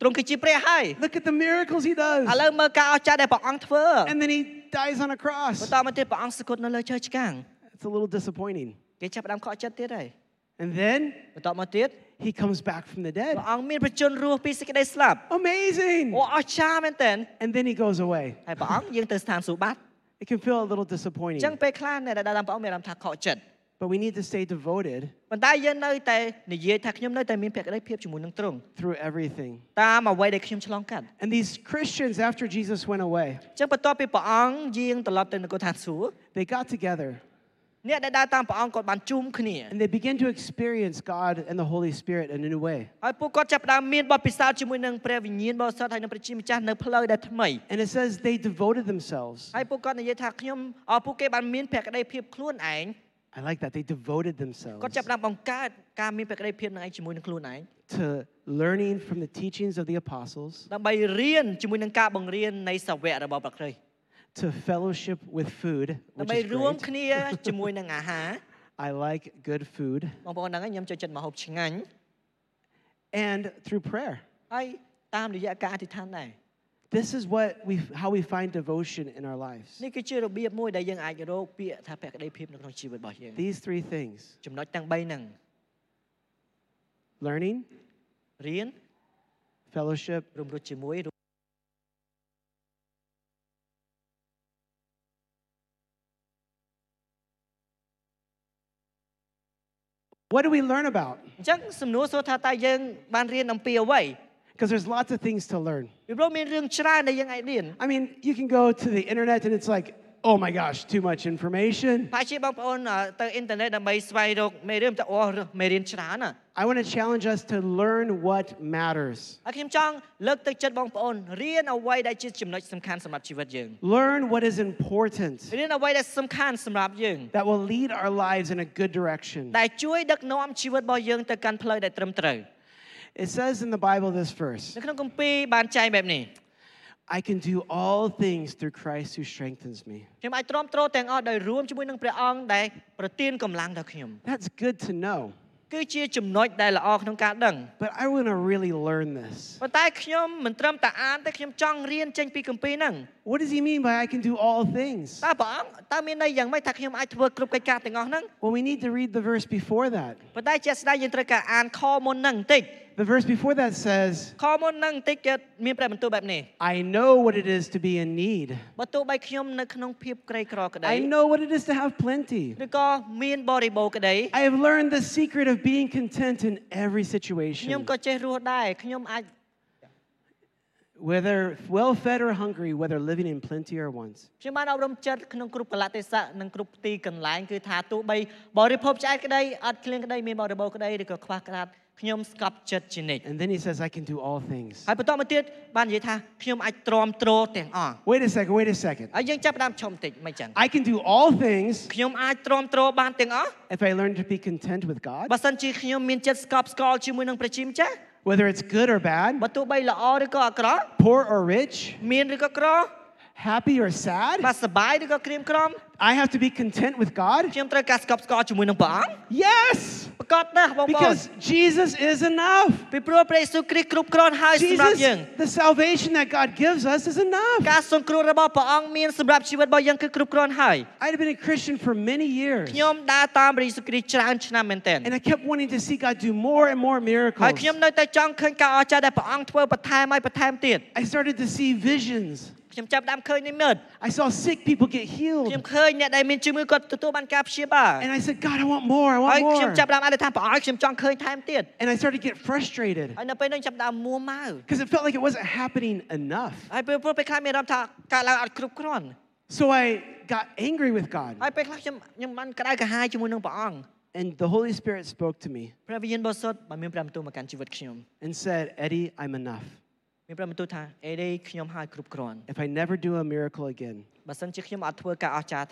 C: ទ្រង់គឺជាព្រះហើយ
B: Look at the miracles he
C: ឥ
B: does.
C: ឡូវមើលការអស្ចារ្យដែលព្រះអង្គធ្វើ
B: And then he dies on a
C: បន្
B: cross.
C: ទាប់មកទៀតព្រះអង្គសគត់នៅលើឈើឆ្កាង
B: It's a little disappointing.
C: គេចាប់ផ្ដើមខកចិត្តទៀតហើយ
B: And then
C: បន្ទាប់មកទៀត
B: he comes back from the
C: ព្រះ
B: dead.
C: អង្គមានប្រជញ្ញរស់ពីសេចក្តីស្លាប់
B: Amazing.
C: អូអស្ចារ្យមែនតើ
B: And then he goes away.
C: ហើយព្រះអង្គយើងទៅស្ថានសួគ៌បាត់
B: It can feel a little
C: អញ្ចឹង
B: disappointing.
C: ពេលខ្លះអ្នកដែលដើរតាមព្រះអង្គមានអារម្មណ៍ថាខកចិត្ត
B: But we need to stay devoted
C: ប៉ុន្តែយើងនៅតែនិយាយថាខ្ញុំនៅតែមានភក្តីភាពជាមួយនឹងទ្រង់
B: through everything.
C: តាមអ្វីដែលខ្ញុំឆ្លងកាត់
B: And these Christians, after Jesus went away,
C: អញ្ចឹងបន្ទាប់ពីព្រះអង្គយាងត្រឡប់ទៅនគរឋានសួគ៌
B: they got together
C: អ្នកដែលដើរតាមព្រះអង្គគាត់បានជួមគ្នា
B: and they began to experience God and the Holy Spirit in a new way.
C: ហើយពួកគាត់ចាប់ផ្ដើមមានបទពិសោធន៍ជាមួយនឹងព្រះវិញ្ញាណបរិសុទ្ធហើយនឹងព្រះជាម្ចាស់នៅផ្លូវដែលថ្មី
B: And it says they devoted themselves.
C: ហើយពួកគាត់និយាយថាខ្ញុំអពួកគេបានមានភក្តីភាពខ្លួនឯង
B: I like that. They devoted themselves
C: គាត់ចាប់ផ្ដើមបង្កើតការមានភក្តីភាពនឹងឯងជាមួយនឹងខ្លួនឯង
B: to learning from the teachings of the apostles,
C: ដើម្បីរៀនជាមួយនឹងការបង្រៀននៃសាវករបស់ព្រះគ្រីស្ទ
B: to fellowship with food,
C: ដើ
B: which
C: ម្បី
B: is
C: រួម
B: great.
C: គ្នាជាមួយនឹងអា ហារ
B: I like good food,
C: បងប្អូនហ្នឹងឯងខ្ញុំចូលចិត្តម្ហូបឆ្ងាញ់
B: and through prayer.
C: ហើយតាមរយៈការអធិដ្ឋានដែរ
B: This is what we, how we find devotion in our lives.
C: នេះគឺជារបៀបមួយដែលយើងអាចរកពាក្យថាភក្តីភាពនៅក្នុងជីវិតរបស់យើង
B: These three things:
C: ចំណុចទាំង3ហ្នឹង
B: learning,
C: រៀន
B: fellowship,
C: រួមរត់ជាមួយរួម
B: What do we learn about?
C: អញ្ចឹងសំណួរសួរថាតើយើងបានរៀនអំពីអ្វី
B: Because there's lots of things to learn.
C: ពីព្រោះមានរឿងច្រើនដែលយើងអាចរៀន
B: I mean, you can go to the internet and it's like, oh my gosh, too much information.
C: បើជាបងប្អូនអ่าទៅអ៊ីនធឺណិតដើម្បីស្វែងរកមេរៀនតើអូមេរៀនច្រើនណាស់
B: I want to challenge us to learn what matters,
C: ហើយខ្ញុំចង់លើកទឹកចិត្តបងប្អូនរៀនអ្វីដែលជាចំណុចសំខាន់សម្រាប់ជីវិតយើង
B: learn what is important
C: រៀនអ្វីដែលសំខាន់សម្រាប់យើង
B: that will lead our lives in a good direction.
C: ដែលជួយដឹកនាំជីវិតរបស់យើងទៅកាន់ផ្លូវដែលត្រឹមត្រូវ
B: It says in the Bible this verse
C: នៅក្នុងគម្ពីរបានចែងបែបនេះ
B: I can do all things through Christ who strengthens me.
C: ខ្ញុំអាចទ្រាំទ្រទាំងអស់ដោយរួមជាមួយនឹងព្រះអង្គដែលប្រទានកម្លាំងដល់ខ្ញុំ
B: That's good to know,
C: គឺជាចំណុចដែលល្អក្នុងការដឹង
B: but I want to really learn this.
C: ប៉ុន្តែខ្ញុំមិនត្រឹមតែអានទេខ្ញុំចង់រៀនចេញពីគម្ពីរហ្នឹង
B: What does he mean by I can do all things?
C: តើព្រះអង្គតើមានន័យយ៉ាងម៉េចថាខ្ញុំអាចធ្វើគ្រប់កិច្ចការទាំងអស់ហ្នឹង
B: Well, we need to read the verse before that.
C: ប៉ុន្តែជាក់ស្ដែងយើងត្រូវការអានខមុនហ្នឹងបន្តិច
B: The verse before that says,
C: ខមុនហ្នឹងបន្តិចទៀតមានព្រះបន្ទូលបែបនេះ
B: I know what it is to be in need.
C: បើទោះបីខ្ញុំនៅក្នុងភាពក្រីក្រក្តី
B: I know what it is to have plenty.
C: ឬក៏មានបរិបូរណ៍ក្តី
B: I have learned the secret of being content in every
C: ខ្ញុំ
B: situation.
C: ក៏ចេះរស់ដែរខ្ញុំអាច
B: Whether well fed or hungry, whether living in plenty or wants.
C: ខ្ញុំបានអប់រំចិត្តក្នុងគ្រប់កលៈទេសៈនិងគ្រប់ទីកន្លែងគឺថាទោះបីបរិភពឆ្អែតក្តីអត់ឃ្លៀងក្តីមានបរិបូរណ៍ក្តីឬក៏ខ្វះក្រាតខ្ញុំស្កប់ចិត្តជានិច្ច
B: And then he says, I can do all things.
C: ហើយបន្តមកទៀតបាននិយាយថាខ្ញុំអាចទ្រាំទ្រទាំងអស់
B: Wait a second, wait a second.
C: ហើយយើងចាប់ផ្ដើមឈុំបន្តិចមិនចឹង
B: I can do all things
C: ខ្ញុំអាចទ្រាំទ្របានទាំងអស់
B: if I learn to be content with God,
C: បើសិនជាខ្ញុំមានចិត្តស្កប់ស្កល់ជាមួយនឹងប្រជាម្ចាស់
B: whether it's good or bad,
C: បើទោះបីល្អឬក៏អាក្រក់
B: poor or rich,
C: មានឬក៏ក្រ
B: happy or sad.
C: បើសប្បាយឬក៏ក្រៀមក្រំ
B: I have to be content with God.
C: ខ្ញុំត្រូវការស្កប់ស្កល់ជាមួយនឹងព្រះអង្គ
B: Yes,
C: ប្រកបណាស់បងប្អូន
B: because Jesus is enough.
C: ពីព្រោះព្រះយេស៊ូវគ្រីស្ទគ្រប់គ្រាន់ហើយសម្រាប់យើង
B: Jesus, the salvation that God gives us is enough.
C: ការសង្គ្រោះរបស់ព្រះអង្គមានសម្រាប់ជីវិតរបស់យើងគឺគ្រប់គ្រាន់ហើយ
B: I'd been a Christian for many years,
C: ខ្ញុំដើរតាមព្រះយេស៊ូវគ្រីស្ទច្រើនឆ្នាំមែនទែន
B: and I kept wanting to see God do more and more
C: ហើយ
B: miracles.
C: ខ្ញុំនៅតែចង់ឃើញការអស្ចារ្យដែលព្រះអង្គធ្វើបន្ថែមហើយបន្ថែមទៀត
B: I started to see visions.
C: ខ្ញុំចាប់ផ្ដើមឃើញនិមិត្ត
B: I saw sick people get
C: ខ្ញុំ
B: healed,
C: ឃើញអ្នកដែលមានជំងឺគាត់ទទួលបានការព្យាបាល
B: and I said, God, I want more. I
C: ហើយ
B: want
C: ខ្ញុំ
B: more.
C: ចាប់ផ្ដើមអធិដ្ឋានព្រះអង្គខ្ញុំចង់ឃើញថែមទៀត
B: And I started to get frustrated
C: ហើយនៅពេលហ្នឹងចាប់ផ្ដើមមួម៉ៅ
B: because it felt like it wasn't happening enough.
C: ហើយពេលព្រោះពេលខ្លះមានអារម្មណ៍ថាកើតឡើងអត់គ្រប់គ្រាន់
B: So I got angry with God,
C: ហើយពេលខ្លះខ្ញុំខ្ញុំបានក្តៅក្រហាយជាមួយនឹងព្រះអង្គ
B: and the Holy Spirit spoke to me
C: ព្រះវិញ្ញាណបរិសុទ្ធបានមានព្រះបន្ទូលមកកាន់ជីវិតខ្ញុំ
B: and said, Eddie, I'm enough.
C: មានព្រះបន្ទូលថាអេដេខ្ញុំហើយគ្រប់គ្រាន់
B: If I never do a miracle again,
C: បើសិនជាខ្ញុំអត់ធ្វើការអស្ចារ្យ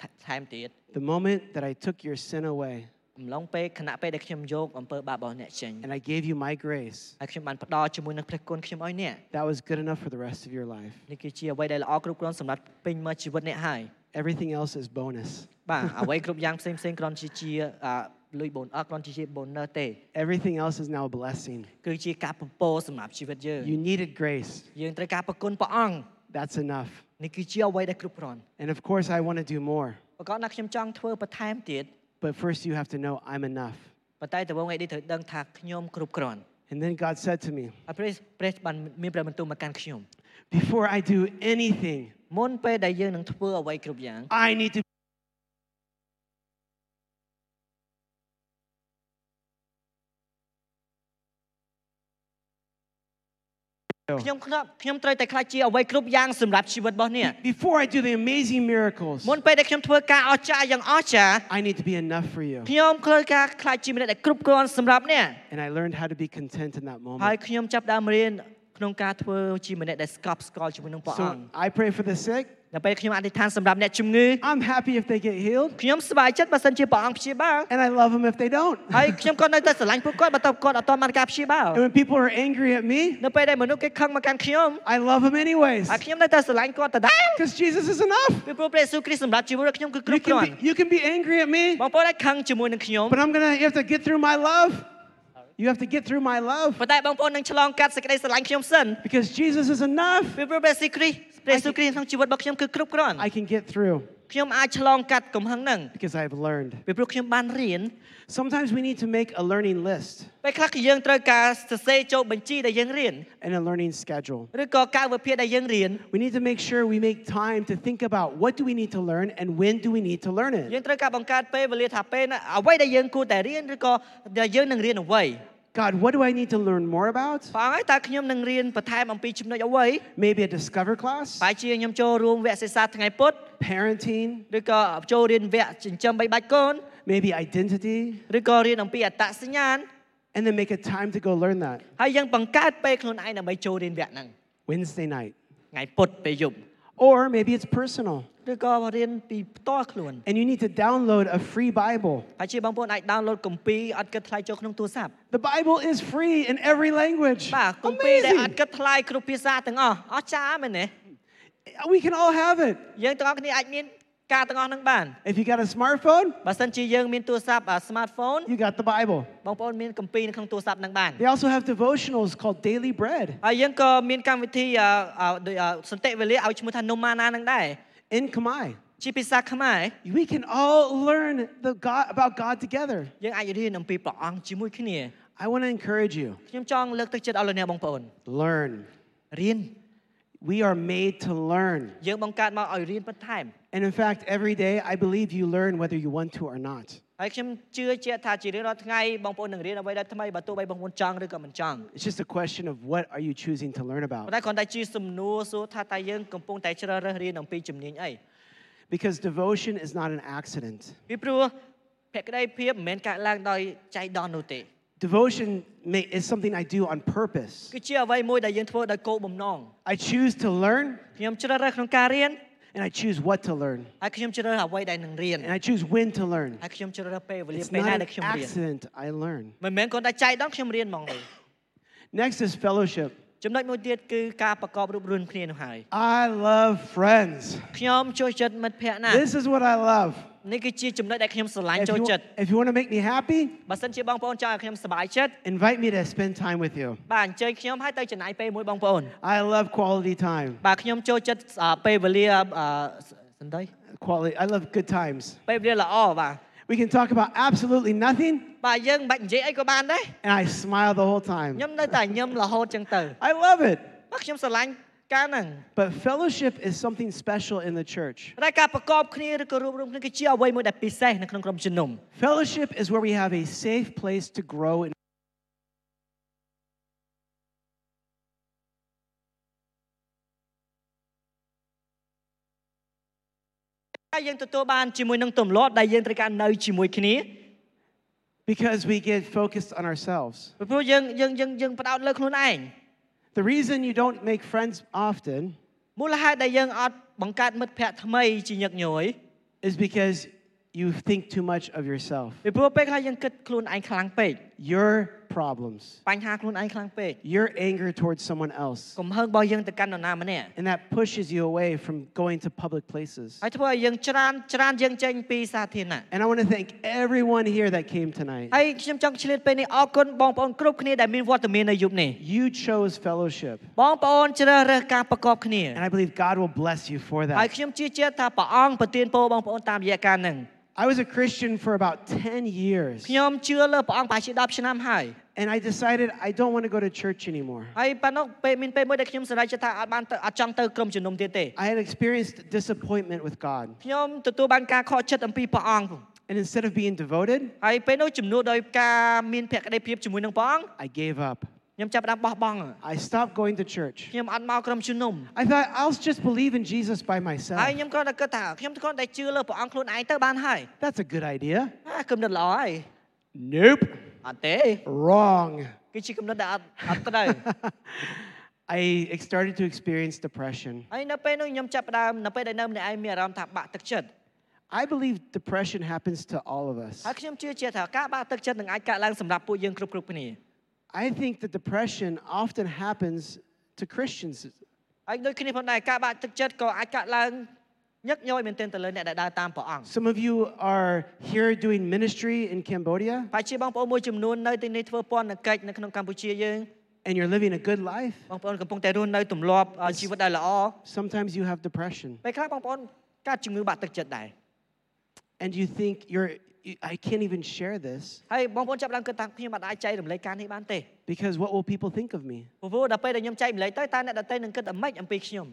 C: ថថែមទៀត
B: the moment that I took your sin away,
C: អំឡុងពេលគណៈពេលដែលខ្ញុំយកអំពើបាបរបស់អ្នកចេញ
B: and I gave you my grace,
C: ហើយខ្ញុំបានផ្ដល់ជាមួយនឹងព្រះគុណខ្ញុំឲ្យអ្នក
B: that was good enough for the rest of your life.
C: នេះគឺជាអ្វីដែលល្អគ្រប់គ្រាន់សម្រាប់ពេញមកជីវិតអ្នកហើយ
B: Everything else is bonus.
C: បាទអ្វីគ្រប់យ៉ាងផ្សេងផ្សេងគ្រាន់ជាជាអ่าលុយបូនអត់គ្រាន់ជាជា bonus ទេ
B: Everything else is now a blessing.
C: គឺជាការបំពោរសម្រាប់ជីវិតយើង
B: You needed grace.
C: យើងត្រូវការប្រគុណព្រះអង្គ
B: That's enough.
C: នេះគឺជាអ្វីដែលគ្រប់គ្រាន់
B: And of course, I want to do more.
C: ប្រកបណាស់ខ្ញុំចង់ធ្វើបន្ថែមទៀត
B: But first, you have to know I'm enough.
C: ប៉ុន្តែតើបងឯងនេះត្រូវដឹងថាខ្ញុំគ្រប់គ្រាន់
B: And then God said to me,
C: ហើយព្រះព្រះបានមានព្រះបន្ទូលមកកាន់ខ្ញុំ
B: Before I do anything,
C: មុនពេលដែលយើងនឹងធ្វើអ្វីគ្រប់យ៉ាង
B: I need to. Oh.
C: ខ្ញុំខ្ញុំខ្ញុំត្រូវតែខ្លាចជាអ្វីគ្រប់យ៉ាងសម្រាប់ជីវិតរបស់អ្នក
B: Before I do the amazing miracles,
C: មុនពេលដែលខ្ញុំធ្វើការអស្ចារ្យយ៉ាងអស្ចារ្យ
B: I need to be enough for you.
C: ខ្ញុំឃើញការខ្លាចជាមនុស្សដែលគ្រប់គ្រាន់សម្រាប់អ្នក
B: And I learned how to be content in that
C: ហើយ
B: moment.
C: ខ្ញុំចាប់ផ្ដើមរៀនក្នុងការធ្វើជាមនុស្សដែលស្កប់ស្កល់ជាមួយនឹងព្រះអង្គ
B: So I pray for the sick,
C: ដល់ពេលខ្ញុំអធិដ្ឋានសម្រាប់អ្នកជំងឺ
B: I'm happy if they get healed,
C: ខ្ញុំសប្បាយចិត្តបើសិនជាព្រះអង្គព្យាបាល
B: and I love them if they don't.
C: ហើយខ្ញុំក៏នៅតែស្រឡាញ់ពួកគាត់បើតើគាត់អត់ទាន់បានការព្យាបាល
B: And when people are angry at me,
C: នៅពេលដែលមនុស្សគេខឹងមកកាន់ខ្ញុំ
B: I love them anyways.
C: ហើយខ្ញុំនៅតែស្រឡាញ់គាត់ដដែល
B: Because Jesus is enough.
C: ពីព្រោះព្រះយេស៊ូវគ្រីស្ទសម្រាប់ជីវិតរបស់ខ្ញុំគឺគ្រ
B: You
C: ប់គ្រាន់
B: can, be, you can be angry at me,
C: បងប្អូនអាចខឹងជាមួយនឹងខ្ញុំ
B: but I'm going to, you have to get through my love. You have to get through my love.
C: ប៉ុន្តែបងប្អូននឹងឆ្លងកាត់សេចក្តីស្រឡាញ់ខ្ញុំសិន
B: Because Jesus is enough.
C: ពីព្រោះព្រះយេស៊ូវគ្រីស្ទព្រះយេស៊ូវគ្រីស្ទក្នុងជីវិតរបស់ខ្ញុំគឺគ្រប់គ្រាន់
B: I can get through
C: ខ្ញុំអាចឆ្លងកាត់កំហឹងហ្នឹង
B: because I've learned.
C: ពីព្រោះខ្ញុំបានរៀន
B: Sometimes we need to make a learning list
C: ពេលខ្លះគឺយើងត្រូវការសរសេរចូលបញ្ជីដែលយើងរៀន
B: and a learning schedule.
C: ឬក៏កាយវិភាគដែលយើងរៀន
B: We need to make sure we make time to think about what do we need to learn and when do we need to learn
C: យើ
B: it.
C: ងត្រូវការបង្កើតពេលវេលាថាពេលណាអ្វីដែលយើងគួរតែរៀនឬក៏ដែលយើងនឹងរៀនអ្វី
B: God, what do I need to learn more about?
C: ព្រះអង្គហើយតើខ្ញុំនឹងរៀនបន្ថែមអំពីចំណុចអ្វី
B: Maybe a discover class,
C: បើជាខ្ញុំចូលរួមវគ្គសិក្សាថ្ងៃពុទ្ធ
B: parenting,
C: ឬក៏ចូលរៀនវគ្គចិញ្ចឹមបីបាច់កូន
B: maybe identity,
C: ឬក៏រៀនអំពីអត្តសញ្ញាណ
B: and then make a time to go learn that.
C: ហើយយើងបង្កើតពេលខ្លួនឯងដើម្បីចូលរៀនវគ្គហ្នឹង
B: Wednesday night.
C: ថ្ងៃពុទ្ធពេលយប់
B: Or maybe it's personal
C: ឬក៏រៀនពីផ្ទាល់ខ្លួន
B: and you need to download a free Bible.
C: បើជាបងប្អូនអាច download គម្ពីរអត់គិតថ្លៃចូលក្នុងទូរស័ព្ទ
B: The Bible is free in every language.
C: បាទគម្ពីរដែលអត់
B: Amazing.
C: គិតថ្លៃគ្រប់ភាសាទាំងអស់អស្ចារ្យមែនទេ
B: We can all have it.
C: យើងទាំងអស់គ្នាអាចមានការទាំងអស់ហ្នឹងបាន
B: If you got a smartphone,
C: បើសិនជាយើងមានទូរស័ព្ទ smartphone
B: you got the Bible.
C: បងប្អូនមានគម្ពីរនៅក្នុងទូរស័ព្ទហ្នឹងបាន
B: They also have devotionals called Daily Bread.
C: ហើយយើងក៏មានកម្មវិធីអអដូចអសន្តិវេលាឲ្យឈ្មោះថានំម៉ាណាហ្នឹងដែរ
B: in Khmer.
C: ជាភាសាខ្មែរ
B: We can all learn the God, about God together.
C: យើងអាចរៀនអំពីព្រះអង្គជាមួយគ្នា
B: I want to encourage you
C: ខ្ញុំចង់លើកទឹកចិត្តអស់លោកអ្នកបងប្អូន
B: learn.
C: រៀន
B: We are made to learn.
C: យើងបង្កើតមកឲ្យរៀនបន្ថែម
B: And in fact, every day, I believe you learn whether you want to or not.
C: ហើយខ្ញុំជឿជាក់ថាជារៀងរាល់ថ្ងៃបងប្អូននឹងរៀនអ្វីដែលថ្មីបើទោះបីបងប្អូនចង់ឬក៏មិនចង់
B: It's just a question of what are you choosing to learn
C: ប៉ុ
B: about.
C: ន្តែគ្រាន់តែជាសំណួរសួរថាតើយើងកំពុងតែជ្រើសរើសរៀនអំពីជំនាញអី
B: Because devotion is not an accident.
C: ពីព្រោះភក្តីភាពមិនមែនកើតឡើងដោយចៃដន្យនោះទេ
B: Devotion may, is something I do on purpose.
C: គឺជាអ្វីមួយដែលយើងធ្វើដោយគោលបំណង
B: I choose to learn,
C: ខ្ញុំជ្រើសរើសក្នុងការរៀន
B: and I choose what to learn,
C: ហើយខ្ញុំជ្រើសរើសអ្វីដែលនឹងរៀន
B: and I choose when to learn.
C: ហើយខ្ញុំជ្រើសរើសពេលវេលា
B: It's
C: ពេលណា
B: not an
C: ដែលខ្ញុំរៀន
B: accident. I learn.
C: មិនមែនគ្រាន់តែចៃដន្យខ្ញុំរៀនហ្មងទេ
B: Next is fellowship.
C: ចំណុចមួយទៀតគឺការប្រកបរូបរួមគ្នានោះហើយ
B: I love friends.
C: ខ្ញុំចូលចិត្តមិត្តភ័ក្តិណាស់
B: This is what I love.
C: នេះគឺជាចំណុចដែលខ្ញុំស្រឡាញ់
B: If
C: ចូល
B: you,
C: ចិត្ត
B: if you want to make me happy,
C: បើសិនជាបងប្អូនចង់ឲ្យខ្ញុំសប្បាយចិត្ត
B: invite me to spend time with you.
C: បាទអញ្ជើញខ្ញុំឲ្យទៅចំណាយពេលមួយបងប្អូន
B: I love quality time.
C: បាទខ្ញុំចូលចិត្តអ่าពេលវេលាអ่าសន្តិ
B: Quality. I love good times.
C: ពេលវេលាល្អបាទ
B: We can talk about absolutely nothing,
C: បាទយើងមិនបាច់និយាយអីក៏បានដែរ
B: and I smile the whole time.
C: ខ្ញុំនៅតែញឹមរហូតចឹងទៅ
B: I love it.
C: បាទខ្ញុំស្រឡាញ់ការហ្នឹង
B: But fellowship is something special in the church.
C: តែការប្រកបគ្នាឬក៏រួមរំគ្នាគឺជាអ្វីមួយដែលពិសេសនៅក្នុងក្រុមជំនុំ
B: Fellowship is where we have a safe place to grow in.
C: ហើយយើងទទួលបានជាមួយនឹងទម្លាប់ដែលយើងត្រូវការនៅជាមួយគ្នា
B: Because we get focused on ourselves.
C: ពីព្រោះយើងយើងយើងយើងផ្ដោតលើខ្លួនឯង
B: The reason you don't make friends often
C: មូលហេតុដែលយើងអត់បង្កើតមិត្តភ័ក្តិថ្មីជាញឹកញយ
B: is because you think too much of yourself,
C: ពីព្រោះពេលខ្លះយើងគិតខ្លួនឯងខ្លាំងពេក
B: your problems.
C: បញ្ហាខ្លួនឯងខ្លាំងពេក
B: your anger towards someone else.
C: កំហឹងរបស់យើងទៅកាន់នរណាម្នាក់
B: And that pushes you away from going to public places.
C: ហើយធ្វើឲ្យយើងច្រើនច្រើនយើងចេញពីសាធារណៈ
B: And I want to thank everyone here that came tonight.
C: ហើយខ្ញុំចង់ឆ្លៀតពេលនេះអរគុណបងប្អូនគ្រប់គ្នាដែលមានវត្តមាននៅយប់នេះ
B: You chose fellowship.
C: បងប្អូនជ្រើសរើសការប្រកបគ្នា
B: And I believe God will bless you for
C: ហើយ
B: that.
C: ខ្ញុំជឿជាក់ថាព្រះអង្គប្រទានពរបងប្អូនតាមរយៈការនឹង
B: I was a Christian for about 10 years.
C: ខ្ញុំជឿលើព្រះអង្គប្រហែលជា10ឆ្នាំហើយ
B: And I decided I don't want to go to church anymore.
C: ហើយប៉ណ្ណោះពេលមានពេលមួយដែលខ្ញុំសម្រេចចិត្តថាអត់បានទៅអត់ចង់ទៅក្រុមជំនុំទៀតទេ
B: I had experienced disappointment with God.
C: ខ្ញុំទទួលបានការខកចិត្តអំពីព្រះអង្គ
B: And instead of being devoted,
C: ហើយពេលនោះជំនួសដោយការមានភក្តីភាពជាមួយនឹងព្រះអង្គ
B: I gave up.
C: ខ្ញុំចាប់ផ្ដើមបោះបង់
B: I stopped going to church.
C: ខ្ញុំអត់មកក្រុមជំនុំ
B: I thought, I'll just believe in Jesus by
C: ហើយ
B: myself.
C: ខ្ញុំគ្រាន់តែគិតថាខ្ញុំគ្រាន់តែជឿលើព្រះអង្គខ្លួនឯងទៅបានហើយ
B: That's a good idea.
C: អាគំនិតល្អហើយ
B: Nope.
C: អត់ទេ
B: Wrong.
C: គឺជាគំនិតដែលអត់អត់ត្រូវ
B: I ex- started to experience depression.
C: ហើយនៅពេលនោះខ្ញុំចាប់ផ្ដើមនៅពេលដែលនៅម្នាក់ឯងមានអារម្មណ៍ថាបាក់ទឹកចិត្ត
B: I believe depression happens to all of us.
C: ហើយខ្ញុំជឿជាក់ថាការបាក់ទឹកចិត្តនឹងអាចកើតឡើងសម្រាប់ពួកយើងគ្រប់គ្រប់គ្នា
B: I think that depression often happens to Christians.
C: ហើយដូចគ្នាផងដែរការបាក់ទឹកចិត្តក៏អាចកើតឡើងញឹកញយមែនទែនទៅលើអ្នកដែលដើរតាមព្រះអង្គ
B: Some of you are here doing ministry in Cambodia
C: បាទជាបងប្អូនមួយចំនួននៅទីនេះធ្វើពន្ធនកិច្ចនៅក្នុងកម្ពុជាយើង
B: and you're living a good life.
C: បងប្អូនកំពុងតែរស់នៅទម្លាប់អ่าជីវិតដែលល្អ
B: Sometimes you have depression
C: ពេលខ្លះបងប្អូនកើតជំងឺបាក់ទឹកចិត្តដែរ
B: and you think you're I can't even share this
C: ហើយបងប្អូនចាប់ឡើងគិតថាខ្ញុំមិនអាចចែករំលែកការនេះបានទេ
B: because what will people think of me?
C: ព្រោះដល់ពេលដែលខ្ញុំចែករំលែកទៅតើអ្នកដទៃនឹងគិតអ្វីអំពីខ្ញុំ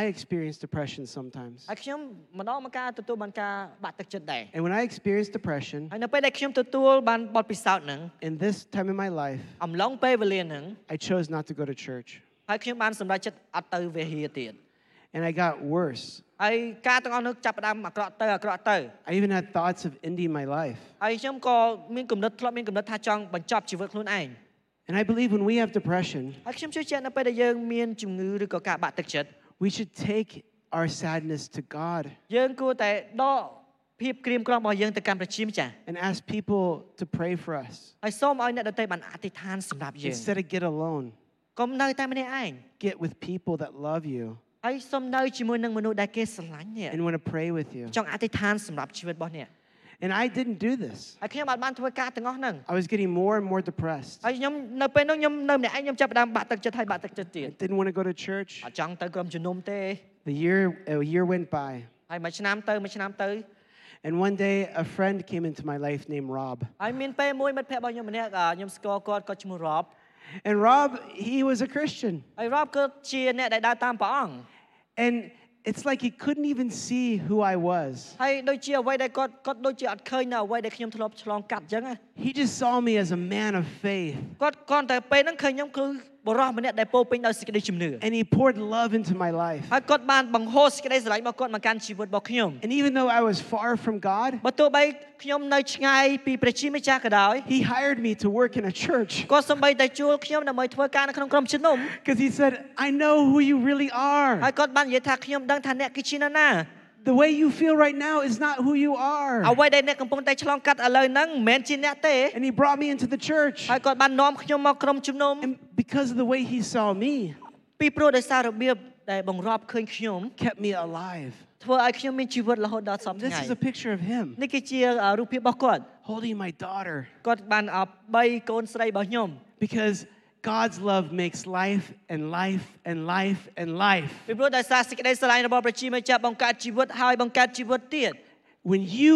B: I experience depression sometimes.
C: ហើយខ្ញុំម្ដងមកការទទួលបានការបាក់ទឹកចិត្តដែរ
B: And when I experience depression
C: ហើយនៅពេលដែលខ្ញុំទទួលបានបទពិសោធន៍ហ្នឹង
B: in this time in my life,
C: អំឡុងពេលវេលាហ្នឹង
B: I chose not to go to church
C: ហើយខ្ញុំបានសម្រេចចិត្តអត់ទៅវិហារទៀត
B: and I got worse.
C: ហើយការទាំងអស់នោះចាប់ផ្ដើមអាក្រក់ទៅអាក្រក់ទៅ
B: I even had thoughts of ending my life.
C: ហើយខ្ញុំក៏មានគំនិតធ្លាប់មានគំនិតថាចង់បញ្ចប់ជីវិតខ្លួនឯង
B: And I believe when we have depression,
C: ហើយខ្ញុំជឿជាក់នៅពេលដែលយើងមានជំងឺឬក៏ការបាក់ទឹកចិត្ត
B: we should take our sadness to God
C: យើងគួរតែដកភាពក្រៀមក្រំរបស់យើងទៅកាន់ប្រជាម្ចាស់
B: and ask people to pray for us
C: ហើយសូមឲ្យអ្នកដទៃបានអធិដ្ឋានសម្រាប់យើង
B: instead of get alone.
C: កុំនៅតែម្នាក់ឯង
B: Get with people that love you
C: ហើយសូមនៅជាមួយនឹងមនុស្សដែលគេស្រឡាញ់អ្នក
B: and want to pray with you.
C: ចង់អធិដ្ឋានសម្រាប់ជីវិតរបស់អ្នក
B: And I didn't do this.
C: ហើយខ្ញុំអត់បានធ្វើការទាំងអស់ហ្នឹង
B: I was getting more and more depressed.
C: ហើយខ្ញុំនៅពេលនោះខ្ញុំនៅម្នាក់ឯងខ្ញុំចាប់ផ្ដើមបាក់ទឹកចិត្តហើយបាក់ទឹកចិត្តទៀត
B: Didn't want to go to church.
C: អត់ចង់ទៅក្រុមជំនុំទេ
B: The year a year went by,
C: ហើយមួយឆ្នាំទៅមួយឆ្នាំទៅ
B: and one day a friend came into my life named Rob.
C: ហើយមានពេលមួយមិត្តភក្តិរបស់ខ្ញុំម្នាក់អ่าខ្ញុំស្គាល់គាត់គាត់ឈ្មោះរ៉ប
B: And Rob, he was a Christian,
C: ហើយរ៉បគឺជាអ្នកដែលដើរតាមព្រះអង្គ
B: and it's like he couldn't even see who I was.
C: ហើយដូចជាអ្វីដែលគាត់គាត់ដូចជាអត់ឃើញនៅអ្វីដែលខ្ញុំធ្លាប់ឆ្លងកាត់អញ្ចឹងណា
B: He just saw me as a man of faith,
C: គាត់គ្រាន់តែពេលហ្នឹងឃើញខ្ញុំគឺបរិសម្នាក់ដែលពោរពេញដោយសេចក្តីជំនឿ
B: and he poured love into my life.
C: ហើយគាត់បានបង្ហូរសេចក្តីស្រឡាញ់របស់គាត់មកកាន់ជីវិតរបស់ខ្ញុំ
B: And even though I was far from God,
C: បើទោះបីខ្ញុំនៅឆ្ងាយពីព្រះជាម្ចាស់ក៏ដោយ
B: he hired me to work in a church
C: គាត់សំបីតែជួលខ្ញុំដើម្បីធ្វើការនៅក្នុងក្រុមជំនុំ
B: because he said, "I know who you really
C: ហើ
B: are.
C: យគាត់បាននិយាយថាខ្ញុំដឹងថាអ្នកគឺជានរណា
B: The way you feel right now is not who you
C: អ្
B: are."
C: វីដែលអ្នកកំពុងតែឆ្លងកាត់ឥឡូវហ្នឹងមិនមែនជាអ្នកទេ
B: And he brought me into the church,
C: ហើយគាត់បាននាំខ្ញុំមកក្រុមជំនុំ
B: and because of the way he saw me,
C: ពីព្រោះដោយសាររបៀបដែលបង្រាប់ឃើញខ្ញុំ
B: kept me alive.
C: ធ្វើឲ្យខ្ញុំមានជីវិតរហូតដល់សពវ
B: This
C: ថ្ងៃ
B: is a picture of him
C: នេះគឺជាអ่าរូបភាពរបស់គាត់
B: holding my daughter
C: គាត់បានអ่า3កូនស្រីរបស់ខ្ញុំ
B: because God's love makes life and life and life and life.
C: ពីព្រោះដោយសារសេចក្តីស្រឡាញ់របស់ព្រះជាម្ចាស់បង្កើតជីវិតហើយបង្កើតជីវិតទៀត
B: When you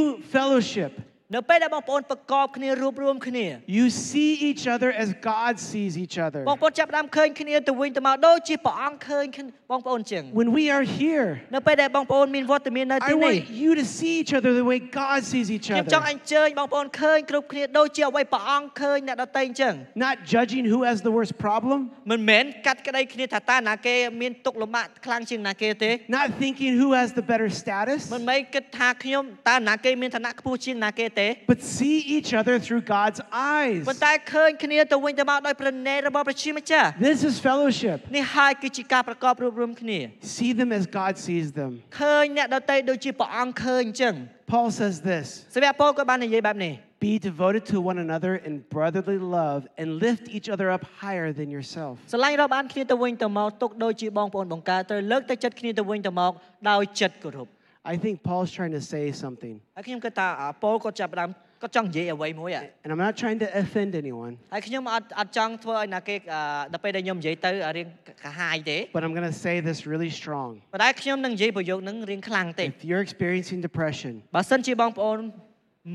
B: fellowship,
C: នៅពេលដែលបងប្អូនប្រកបគ្នារួបរวมគ្នា
B: you see each other as God sees each other.
C: បងប្អូនចាប់ផ្ដើមឃើញគ្នាទៅវិញទៅមកដូចជាព្រះអង្គឃើញគ្នាបងប្អូនជាង
B: When we are here,
C: នៅពេលដែលបងប្អូនមានវត្តមាននៅ
B: I
C: ទីនេះ
B: want you to see each other the way God sees each
C: ខ្ញុំចង់អ
B: other.
C: ញ្ជើញបងប្អូនឃើញគ្រប់គ្នាដូចជាអ្វីព្រះអង្គឃើញអ្នកដទៃអញ្ចឹង
B: Not judging who has the worst problem,
C: មិនមែនកាត់ក្តីគ្នាថាតើណាគេមានទុកលំបាកខ្លាំងជាងណាគេទេ
B: not thinking who has the better status,
C: មិនមែនគិតថាខ្ញុំតើណាគេមានឋានៈខ្ពស់ជាងណាគេទេ
B: but see each other through God's eyes.
C: ប៉ុន្តែឃើញគ្នាទៅវិញទៅមកដោយប្រណេតរបស់ព្រះជាម្ចាស់
B: This is fellowship.
C: នេះហើយគឺជាការប្រកបរួបរวมគ្នា
B: See them as God sees them.
C: ឃើញអ្នកដទៃដូចជាព្រះអង្គឃើញអញ្ចឹង
B: Paul says this
C: សាវកពលក៏បាននិយាយបែបនេះ
B: Be devoted to one another in brotherly love and lift each other up higher than yourself.
C: ស្រឡាញ់រាប់អានគ្នាទៅវិញទៅមកទុកដូចជាបងប្អូនបង្កើតត្រូវលើកទឹកចិត្តគ្នាទៅវិញទៅមកដោយចិត្តគោរព
B: I think Paul's trying to say something.
C: ហើយខ្ញុំគិតថាអ่าពលគាត់ចាប់ផ្ដើមគាត់ចង់និយាយអ្វីមួយហ่ะ
B: And I'm not trying to offend anyone,
C: ហើយខ្ញុំអត់អត់ចង់ធ្វើឲ្យណាគេអ่าដល់ពេលដែលខ្ញុំនិយាយទៅរៀងកាហាយទេ
B: but I'm going to say this really strong.
C: ប៉ុន្តែខ្ញុំនឹងនិយាយប្រយោគហ្នឹងរៀងខ្លាំងទេ
B: If you're experiencing depression,
C: បើសិនជាបងប្អូន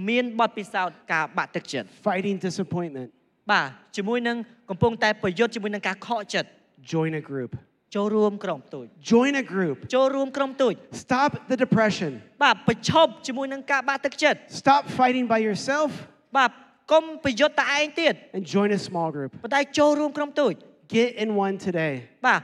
C: មានបទពិសោធន៍ការបាក់ទឹកចិត្ត
B: fighting disappointment,
C: បាទជាមួយនឹងកំពុងតែប្រយុទ្ធជាមួយនឹងការខកចិត្ត
B: join a group.
C: ចូលរួមក្រុមទូច
B: Join a group.
C: ចូលរួមក្រុមទូច
B: Stop the depression.
C: បាទប្រឈប់ជាមួយនឹងការបាក់ទឹកចិត្ត
B: Stop fighting by yourself
C: បាទកុំប្រយុទ្ធតែឯងទៀត
B: and join a small group.
C: ប៉ុន្តែចូលរួមក្រុមទូច
B: Get in one today
C: បាទ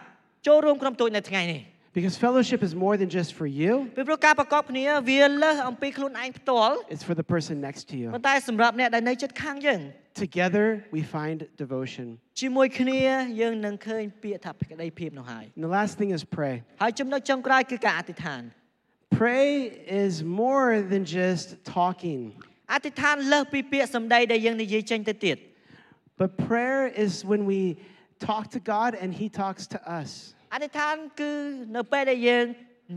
C: ចូលរួមក្រុមទូចនៅថ្ងៃនេះ
B: because fellowship is more than just for you,
C: ពីព្រោះការប្រកបគ្នាវាលើសអំពីខ្លួនឯងផ្ទាល់
B: it's for the person next to you.
C: ប៉ុន្តែសម្រាប់អ្នកដែលនៅជិតខាងយើង
B: Together we find devotion.
C: ជាមួយគ្នាយើងនឹងឃើញពាក្យថាភក្តីភាពនោះហើយ
B: And the last thing is pray.
C: ហើយចំណុចចុងក្រោយគឺការអធិដ្ឋាន
B: Pray is more than just talking,
C: អធិដ្ឋានលើសពីពាក្យសម្ដីដែលយើងនិយាយចេញទៅទៀត
B: but prayer is when we talk to God and He talks to us.
C: អធិដ្ឋានគឺនៅពេលដែលយើង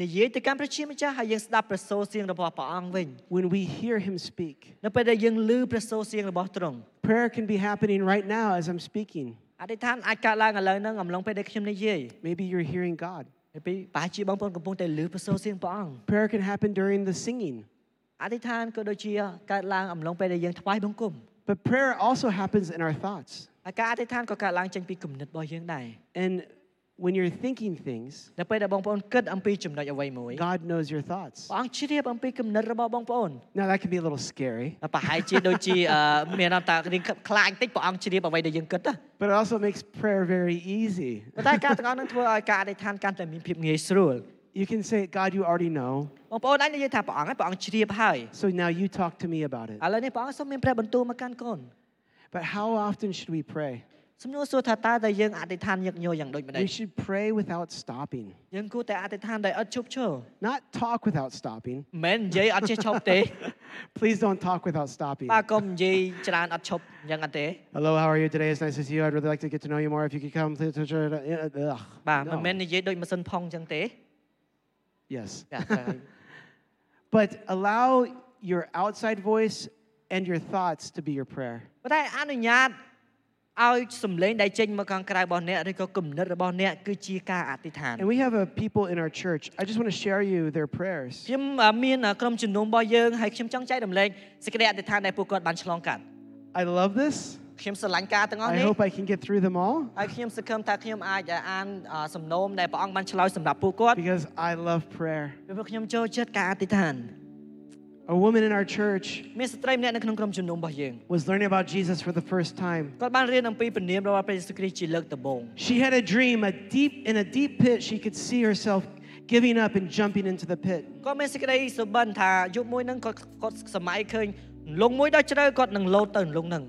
C: និយាយទៅកាន់ព្រះជាម្ចាស់ហើយយើងស្ដាប់ព្រះសូរសៀងរបស់ព្រះអង្គវិញ
B: When we hear Him speak,
C: នៅពេលដែលយើងឮព្រះសូរសៀងរបស់ទ្រង់
B: prayer can be happening right now as I'm speaking.
C: អធិដ្ឋានអាចកើតឡើងឥឡូវហ្នឹងអំឡុងពេលដែលខ្ញុំនិយាយ
B: Maybe you're hearing God.
C: ពេលពីប្រហែលជាបងប្អូនកំពុងតែឮព្រះសូរសៀងព្រះអង្គ
B: Prayer can happen during the singing,
C: អធិដ្ឋានក៏ដូចជាកើតឡើងអំឡុងពេលដែលយើងថ្វាយបង្គំ
B: but prayer also happens in our thoughts.
C: ហើយការអធិដ្ឋានក៏កើតឡើងចេញពីគំនិតរបស់យើងដែរ
B: And when you're thinking things,
C: នៅពេលដែលបងប្អូនគិតអំពីចំណុចអ្វីមួយ
B: God knows your thoughts.
C: ព្រះអង្គជ្រាបអំពីគំនិតរបស់បងប្អូន
B: Now, that can be a little scary,
C: ប្រហែលជាដូចជា អឺមានអត្តរៀងខ្លាចបន្តិចព្រះអង្គជ្រាបអ្វីដែលយើងគិតណា
B: but it also makes prayer very easy.
C: ប៉ុន្តែការទាំងអស់ហ្នឹងធ្វើឲ្យការអធិដ្ឋានកាន់តែមានភាពងាយស្រួល
B: You can say, God, you already know,
C: បងប្អូនអាចនិយាយថាព្រះអង្គហើយព្រះអង្គជ្រាបហើយ
B: so now you talk to me about it.
C: ឥឡូវនេះព្រះអង្គសូមមានព្រះបន្ទូលមកកាន់កូន
B: But how often should we pray?
C: សំណួរសួរថាតើតើយើងអធិដ្ឋានញឹកញយយ៉ាងដូចម្ដេច
B: We should pray without stopping,
C: យើងគួរតែអធិដ្ឋានដោយឥតឈប់ឈរ
B: not talk without stopping.
C: មិនមែននិយាយអត់ចេះឈប់ទេ
B: Please don't talk without stopping.
C: បាទកុំនិយាយច្រើនអត់ឈប់យ៉ាងអត់ទេ
B: Hello, how are you today? It's nice to see you. I'd really like to get to know you more. If you could come, please. Ugh.
C: បាទ
B: No.
C: មិនមែននិយាយដូចម៉ាស៊ីនផុងចឹងទេ
B: Yes.
C: បាទត្រូវហើយ
B: But allow your outside voice and your thoughts to be your prayer.
C: ប៉ុន្តែអនុញ្ញាតឲ្យសំឡេងដែលចេញមកខាងក្រៅរបស់អ្នកឬក៏គំនិតរបស់អ្នកគឺជាការអធិដ្ឋាន
B: And we have a people in our church. I just want to share you their prayers.
C: ខ្ញុំអ่าមានអ่าក្រុមជំនុំរបស់យើងហើយខ្ញុំចង់ចែករំលែកសេចក្តីអធិដ្ឋានដែលពួកគាត់បានឆ្លងកាត់
B: I love this.
C: ខ្ញុំស្រឡាញ់ការទាំងអស់
B: I
C: នេះ
B: hope I can get through them all
C: ហើយខ្ញុំសង្ឃឹមថាខ្ញុំអាចអ่าអានអ่าសំណូមដែលព្រះអង្គបានឆ្លើយសម្រាប់ពួកគាត់
B: because I love prayer.
C: ពីព្រោះខ្ញុំចូលចិត្តការអធិដ្ឋាន
B: A woman in our church
C: មានស្ត្រីម្នាក់នៅក្នុងក្រុមជំនុំរបស់យើង
B: was learning about Jesus for the first time.
C: គាត់បានរៀនអំពីព្រានាមរបស់ព្រះយេស៊ូវគ្រីស្ទជាលើកដំបូង
B: She had a dream, a deep in a deep pit, she could see herself giving up and jumping into the pit.
C: គាត់មានសេចក្តីសុបិនថាយប់មួយហ្នឹងគាត់គាត់សម័យឃើញលងមួយដល់ជ្រៅគាត់នឹងលោតទៅលងហ្នឹង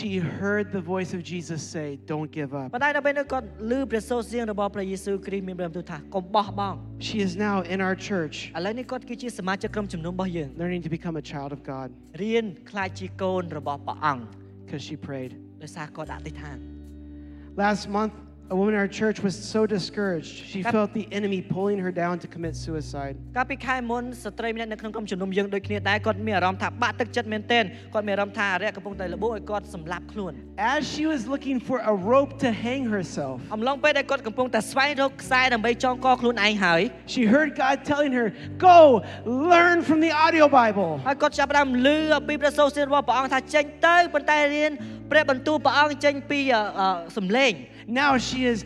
B: She heard the voice of Jesus say, "Don't give up."
C: ប៉ុន្តែនៅពេលនោះគាត់ឮព្រះសូរសៀងរបស់ព្រះយេស៊ូវគ្រីស្ទមានព្រះបន្ទូលថាកុំបោះបង់
B: She is now in our church
C: ឥឡូវនេះគាត់គឺជាសមាជិកក្រុមជំនុំរបស់យើង
B: learning to become a child of God
C: រៀនខ្លាចជាកូនរបស់ព្រះអង្គ
B: because she prayed.
C: ដោយសារគាត់អធិដ្ឋាន
B: Last month, a woman in our church was so discouraged. She
C: Cap-
B: felt the enemy pulling her down to commit suicide.
C: កាលពីខែមុនស្ត្រីម្នាក់នៅក្នុងក្រុមជំនុំយើងដូចគ្នាដែរគាត់មានអារម្មណ៍ថាបាក់ទឹកចិត្តមែនទែនគាត់មានអារម្មណ៍ថាអរិយកំពុងតែលបោឲ្យគាត់សម្លាប់ខ្លួន
B: As she was looking for a rope to hang herself,
C: អំឡុងពេលដែលគាត់កំពុងតែស្វែងរកខ្សែដើម្បីចងកខ្លួនឯងហើយ
B: she heard God telling her, "Go learn from the audio Bible."
C: ហើយគាត់ចាប់ផ្ដើមលឺអំពីព្រះសូរសៀងរបស់ព្រះអង្គថាចេញទៅប៉ុន្តែរៀនព្រះបន្ទូលព្រះអង្គចេញពីអអសំឡេង
B: Now she is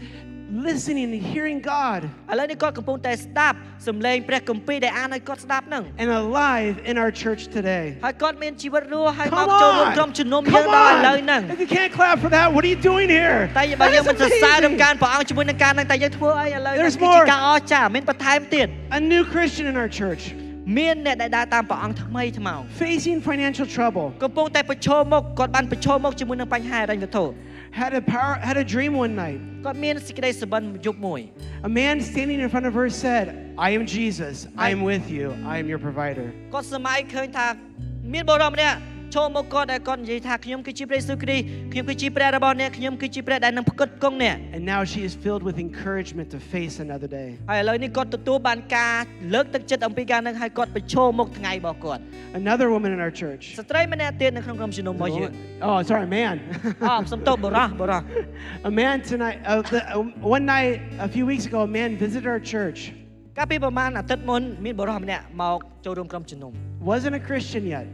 B: listening and hearing God
C: ឥឡូវនេះគាត់កំពុងតែស្ដាប់សំឡេងព្រះគម្ពីរដែលអានឲ្យគាត់ស្ដាប់ហ្នឹង
B: and alive in our church today.
C: ហើយគាត់មានជីវិតរស់ហើយមក
B: Come
C: ចូលរួម
B: on!
C: ក្រុមជំនុំ
B: Come
C: យើងដល់ឥឡូវហ្នឹង
B: on! If you can't clap for that, what are you doing here?
C: តែបើ
B: That
C: យើង
B: is
C: មិនសរសើរនឹង
B: amazing!
C: ការព្រះអង្គជាមួយនឹងការហ្នឹងតែយើងធ្វើអីឥឡូវហ្នឹង
B: There's
C: គឺជា
B: more.
C: ការអស្ចារ្យមានបន្ថែមទៀត
B: A new Christian in our church
C: មានអ្នកដែលដើរតាមព្រះអង្គថ្មីថ្មោង
B: facing financial trouble.
C: កំពុងតែប្រឈមមុខគាត់បានប្រឈមមុខជាមួយនឹងបញ្ហាហិរញ្ញវត្ថុ
B: had a power had a dream one night.
C: គាត់មានសេចក្តីសុបិនយប់មួយ
B: A man standing in front of her said, "I am Jesus. I am with you. I am your provider."
C: គាត់សម័យឃើញថាមានបុរសម្នាក់ឈរមកគាត់ដែលគាត់និយាយថាខ្ញុំគឺជាព្រះយេស៊ូវគ្រីស្ទខ្ញុំគឺជាព្រះរបស់អ្នកខ្ញុំគឺជាព្រះដែលនឹងផ្គត់ផ្គង់អ្នក
B: And now she is filled with encouragement to face another day.
C: ហើយឥឡូវនេះគាត់ទទួលបានការលើកទឹកចិត្តអំពីការនឹងហើយគាត់ប្រឈមមុខថ្ងៃរបស់គាត់
B: Another woman in our church.
C: ស្ត្រីម្នាក់ទៀតនៅក្នុងក្រុមជំនុំរបស់យើង
B: Oh, sorry, man.
C: អមសំទោសបរោះបរោះ
B: a man tonight. Uh, the, uh, one night a few weeks ago, a man visited our church.
C: កាលពីប្រហែលអាទិត្យមុនមានបរោះម្នាក់មកចូលរួមក្រុមជំនុំ
B: Wasn't a Christian yet.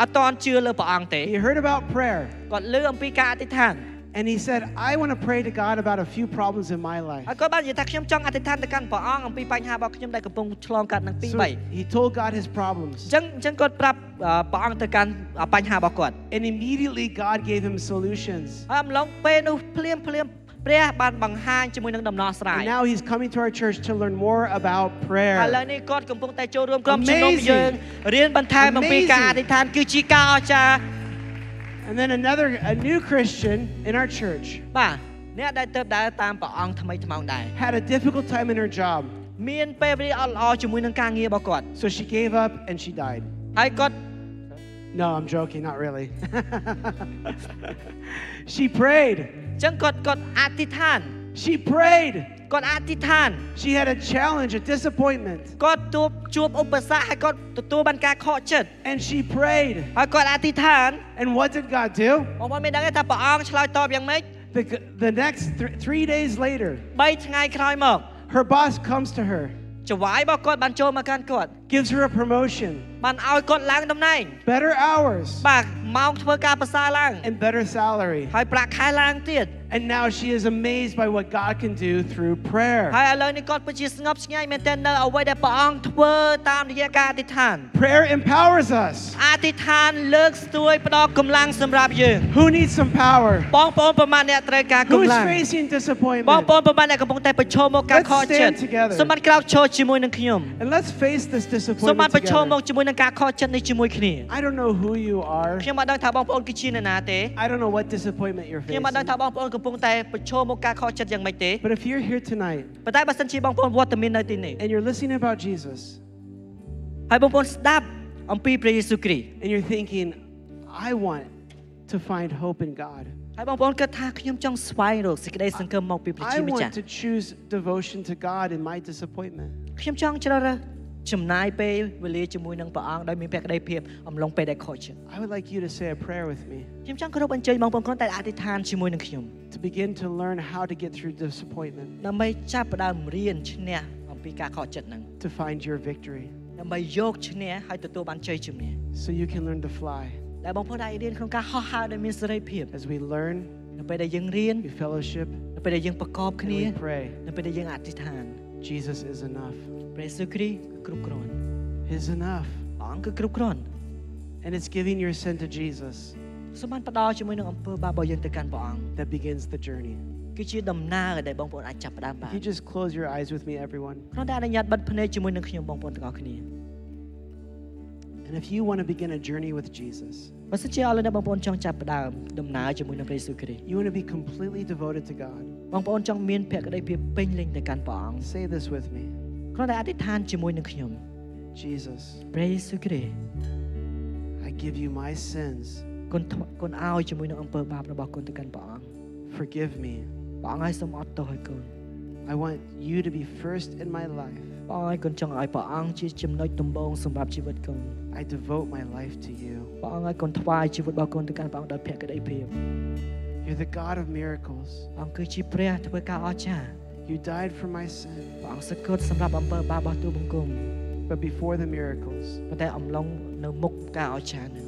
C: អត់តន់ជឿលើព្រះអង្គទេ
B: He heard about prayer
C: គាត់លើអំពីការអធិដ្ឋាន
B: and he said, "I want to pray to God about a few problems in my
C: ហើ
B: life."
C: យគាត់បាននិយាយថាខ្ញុំចង់អធិដ្ឋានទៅកាន់ព្រះអង្គអំពីបញ្ហារបស់ខ្ញុំដែលកំពុងឆ្លងកាត់នឹងពី
B: So
C: 3
B: he told God his
C: អ
B: problems,
C: ញ្ចឹងអញ្ចឹងគាត់ប្រាប់អឺព្រះអង្គទៅកាន់អ่าបញ្ហារបស់គាត់
B: and immediately God gave him solutions.
C: ហើយអំឡុងពេលនោះភ្លាមភ្លាមព្រះបានបង្ហាញជាមួយនឹងដំណោះស្រាយ
B: And now he's coming to our church to learn more about
C: ឥឡូវ
B: prayer.
C: នេះគាត់កំពុងតែចូលរួមក្រុមជំនុំ
B: Amazing.
C: យើងរៀនបន្ថែមអំពី
B: Amazing.
C: ការអធិដ្ឋានគឺជាការអស្ចារ្យ
B: And then another, a new Christian in our church
C: បាទអ្នកដែលទៅដើរតាមព្រះអង្គថ្មីថ្មោងដែរ
B: had a difficult time in her job.
C: មានពេលវេលាអត់ល្អជាមួយនឹងការងាររបស់គាត់
B: So she gave up and she died.
C: ហើយគាត់
B: No, I'm joking, not really. she prayed.
C: អញ្ចឹងគាត់គាត់អធិដ្ឋាន
B: She prayed.
C: គាត់អធិដ្ឋាន
B: She had a challenge, a disappointment.
C: គាត់ជួបជួបឧបសគ្គហើយគាត់ទទួលបានការខកចិត្ត
B: And she prayed.
C: ហើយគាត់អធិដ្ឋាន
B: And what did God do?
C: បងប្អូនមានដឹងទេថាព្រះអង្គឆ្លើយតបយ៉ាងម៉េច
B: The, the next th- three days later,
C: 3ថ្ងៃក្រោយមក
B: her boss comes to her,
C: ចង្វាយរបស់គាត់បានចូលមកកាន់គាត់
B: gives her a promotion,
C: បានឲ្យគាត់ឡើងតំណែង
B: better hours,
C: បាទម៉ោងធ្វើការប្រសើរឡើង
B: and better salary.
C: ហើយប្រាក់ខែឡើងទៀត
B: And now she is amazed by what God can do through
C: ហើ
B: prayer.
C: យឥឡូវនេះគាត់ពិតជាស្ងប់ស្ងាត់មែនទែននៅអ្វីដែលព្រះអង្គធ្វើតាមរយៈការអធិដ្ឋាន
B: Prayer empowers us.
C: អធិដ្ឋានលើកស្ទួយផ្ដល់កម្លាំងសម្រាប់យើង
B: Who needs some power?
C: បងប្អូនប្រមាណអ្នកត្រូវការ
B: Who
C: ក
B: is
C: ម្លាំង
B: facing
C: បងប្អូន
B: disappointment?
C: ប្រហែលអ្នកកំពុងតែប្រឈមមកការ
B: Let's
C: ខកចិត្ត
B: stand together.
C: សូមបានក្រោកឈរជាមួយនឹងខ្ញុំ
B: And let's face this
C: សូមបាន
B: disappointment
C: ប្រឈមមក
B: together.
C: ជាមួយនឹងការខកចិត្តនេះជាមួយគ្នា
B: I don't know who you are.
C: ខ្ញុំមិនដឹងថាបងប្អូនគឺជានរណាទេ
B: I don't know what disappointment you're
C: ខ្ញុំ
B: facing.
C: មិនដឹងថាបងប្អូនកំពុងតែប្រឈមមកការខកចិត្តយ៉ាងម៉េចទេ
B: But if you're here tonight
C: ប៉ុន្តែបើសិនជាបងប្អូនវត្តមាននៅទីនេះ
B: and you're listening about Jesus
C: ហើយបងប្អូនស្ដាប់អំពីព្រះយេស៊ូវគ្រីស្ទ
B: and you're thinking, I want to find hope in God,
C: ហើយបងប្អូនគិតថាខ្ញុំចង់ស្វែងរកសេចក្តីសង្ឃឹមមកពីព្រះជា
B: I
C: ម្ចាស់
B: want to choose devotion to God in my disappointment.
C: ខ្ញុំចង់ជ្រើសរើសចំណាយពេលវេលាជាមួយនឹងព្រះអង្គដោយមានភក្តីភាពអំឡុងពេលដែលខកចិត្ត
B: I would like you to say a prayer with me
C: ខ្ញុំចង់គោរពអញ្ជើញបងប្អូនគ្រាន់តែអធិដ្ឋានជាមួយនឹងខ្ញុំ
B: to begin to learn how to get through disappointment,
C: ដើម្បីចាប់ផ្ដើមរៀនឈ្នះអំពីការខកចិត្តហ្នឹង
B: to find your victory,
C: ដើម្បីយកឈ្នះហើយទទួលបានជ័យជំនះ
B: so you can learn to fly.
C: ដែលបងប្អូនអាចរៀនក្នុងការហោះហើរដោយមានសេរីភាព
B: As we learn,
C: នៅពេលដែលយើងរៀន
B: we fellowship,
C: នៅពេលដែលយើងប្រកប
B: and
C: គ្នា
B: we pray.
C: នៅពេលដែលយើងអធិដ្ឋាន
B: Jesus is enough.
C: ព្រះយេស៊ូវគ្រីស្ទគឺគ្រប់គ្រាន់
B: Is enough.
C: ព្រះអង្គគឺគ្រប់គ្រាន់
B: And it's giving your sin to Jesus
C: សូមបានផ្ដល់ជាមួយនឹងអំពើបាបរបស់យើងទៅកាន់ព្រះអង្គ
B: that begins the journey.
C: គឺជាដំណើរដែលបងប្អូនអាចចាប់ផ្ដើមបាន
B: If you just close your eyes with me, everyone.
C: គ្រាន់តែអនុញ្ញាតបិទភ្នែកជាមួយនឹងខ្ញុំបងប្អូនទាំងអស់គ្នា
B: And if you want to begin a journey with Jesus,
C: បើសិនជាឥឡូវនេះបងប្អូនចង់ចាប់ផ្ដើមដំណើរជាមួយនឹងព្រះយេស៊ូវគ្រីស្ទ
B: you want to be completely devoted to God,
C: បងប្អូនចង់មានភក្តីភាពពេញលេញទៅកាន់ព្រះអង្គ
B: say this with me
C: គ្រាន់តែអធិដ្ឋានជាមួយនឹងខ្ញុំ
B: Jesus,
C: ព្រះយេស៊ូវគ្រីស្ទ
B: I give you my sins.
C: គុណថ្មគុណឲ្យជាមួយនឹងអំពើបាបរបស់គុណទៅកាន់ព្រះអង្គ
B: Forgive me.
C: ព្រះអង្គឲ្យសូមអត់ទោសឲ្យគុណ
B: I want you to be first in my life.
C: ព្រះអង្គឲ្យគុណចង់ឲ្យព្រះអង្គជាចំណុចដំបូងសម្រាប់ជីវិតគុណ
B: I devote my life to you.
C: ព្រះអង្គឲ្យគុណថ្វាយជីវិតរបស់គុណទៅកាន់ព្រះអង្គដោយភក្តីភាព
B: You're the God of miracles.
C: ព្រះអង្គគឺជាព្រះធ្វើការអស្ចារ្យ
B: You died for my sin.
C: ព្រះអង្គសឹកគត់សម្រាប់អំពើបាបរបស់ទូបង្គំ
B: But before the miracles,
C: ប៉ុន្តែអំឡុងនៅមុខការអស្ចារ្យនឹង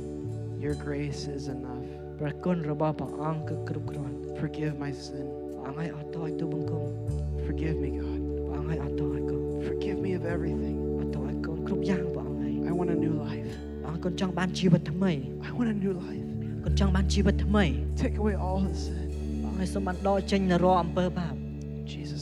B: your grace is enough.
C: ព្រះគុណរបស់ព្រះអង្គគឺគ្រប់គ្រាន់
B: Forgive my sin.
C: ព្រះអង្គឲ្យអត់ទោសឲ្យទូបង្គំ
B: Forgive me, God.
C: ព្រះអង្គឲ្យអត់ទោសឲ្យគុណ
B: Forgive me of everything.
C: អត់ទោសឲ្យកូនគ្រប់យ៉ាងព្រះអង្គឯង
B: I want a new life.
C: អរគុណចង់បានជីវិតថ្មី
B: I want a new life.
C: គុណចង់បានជីវិតថ្មី
B: Take away all the sin.
C: ព្រះអង្គឲ្យសូមបានដកចេញនៅរាល់អំពើបាប
B: In Jesus'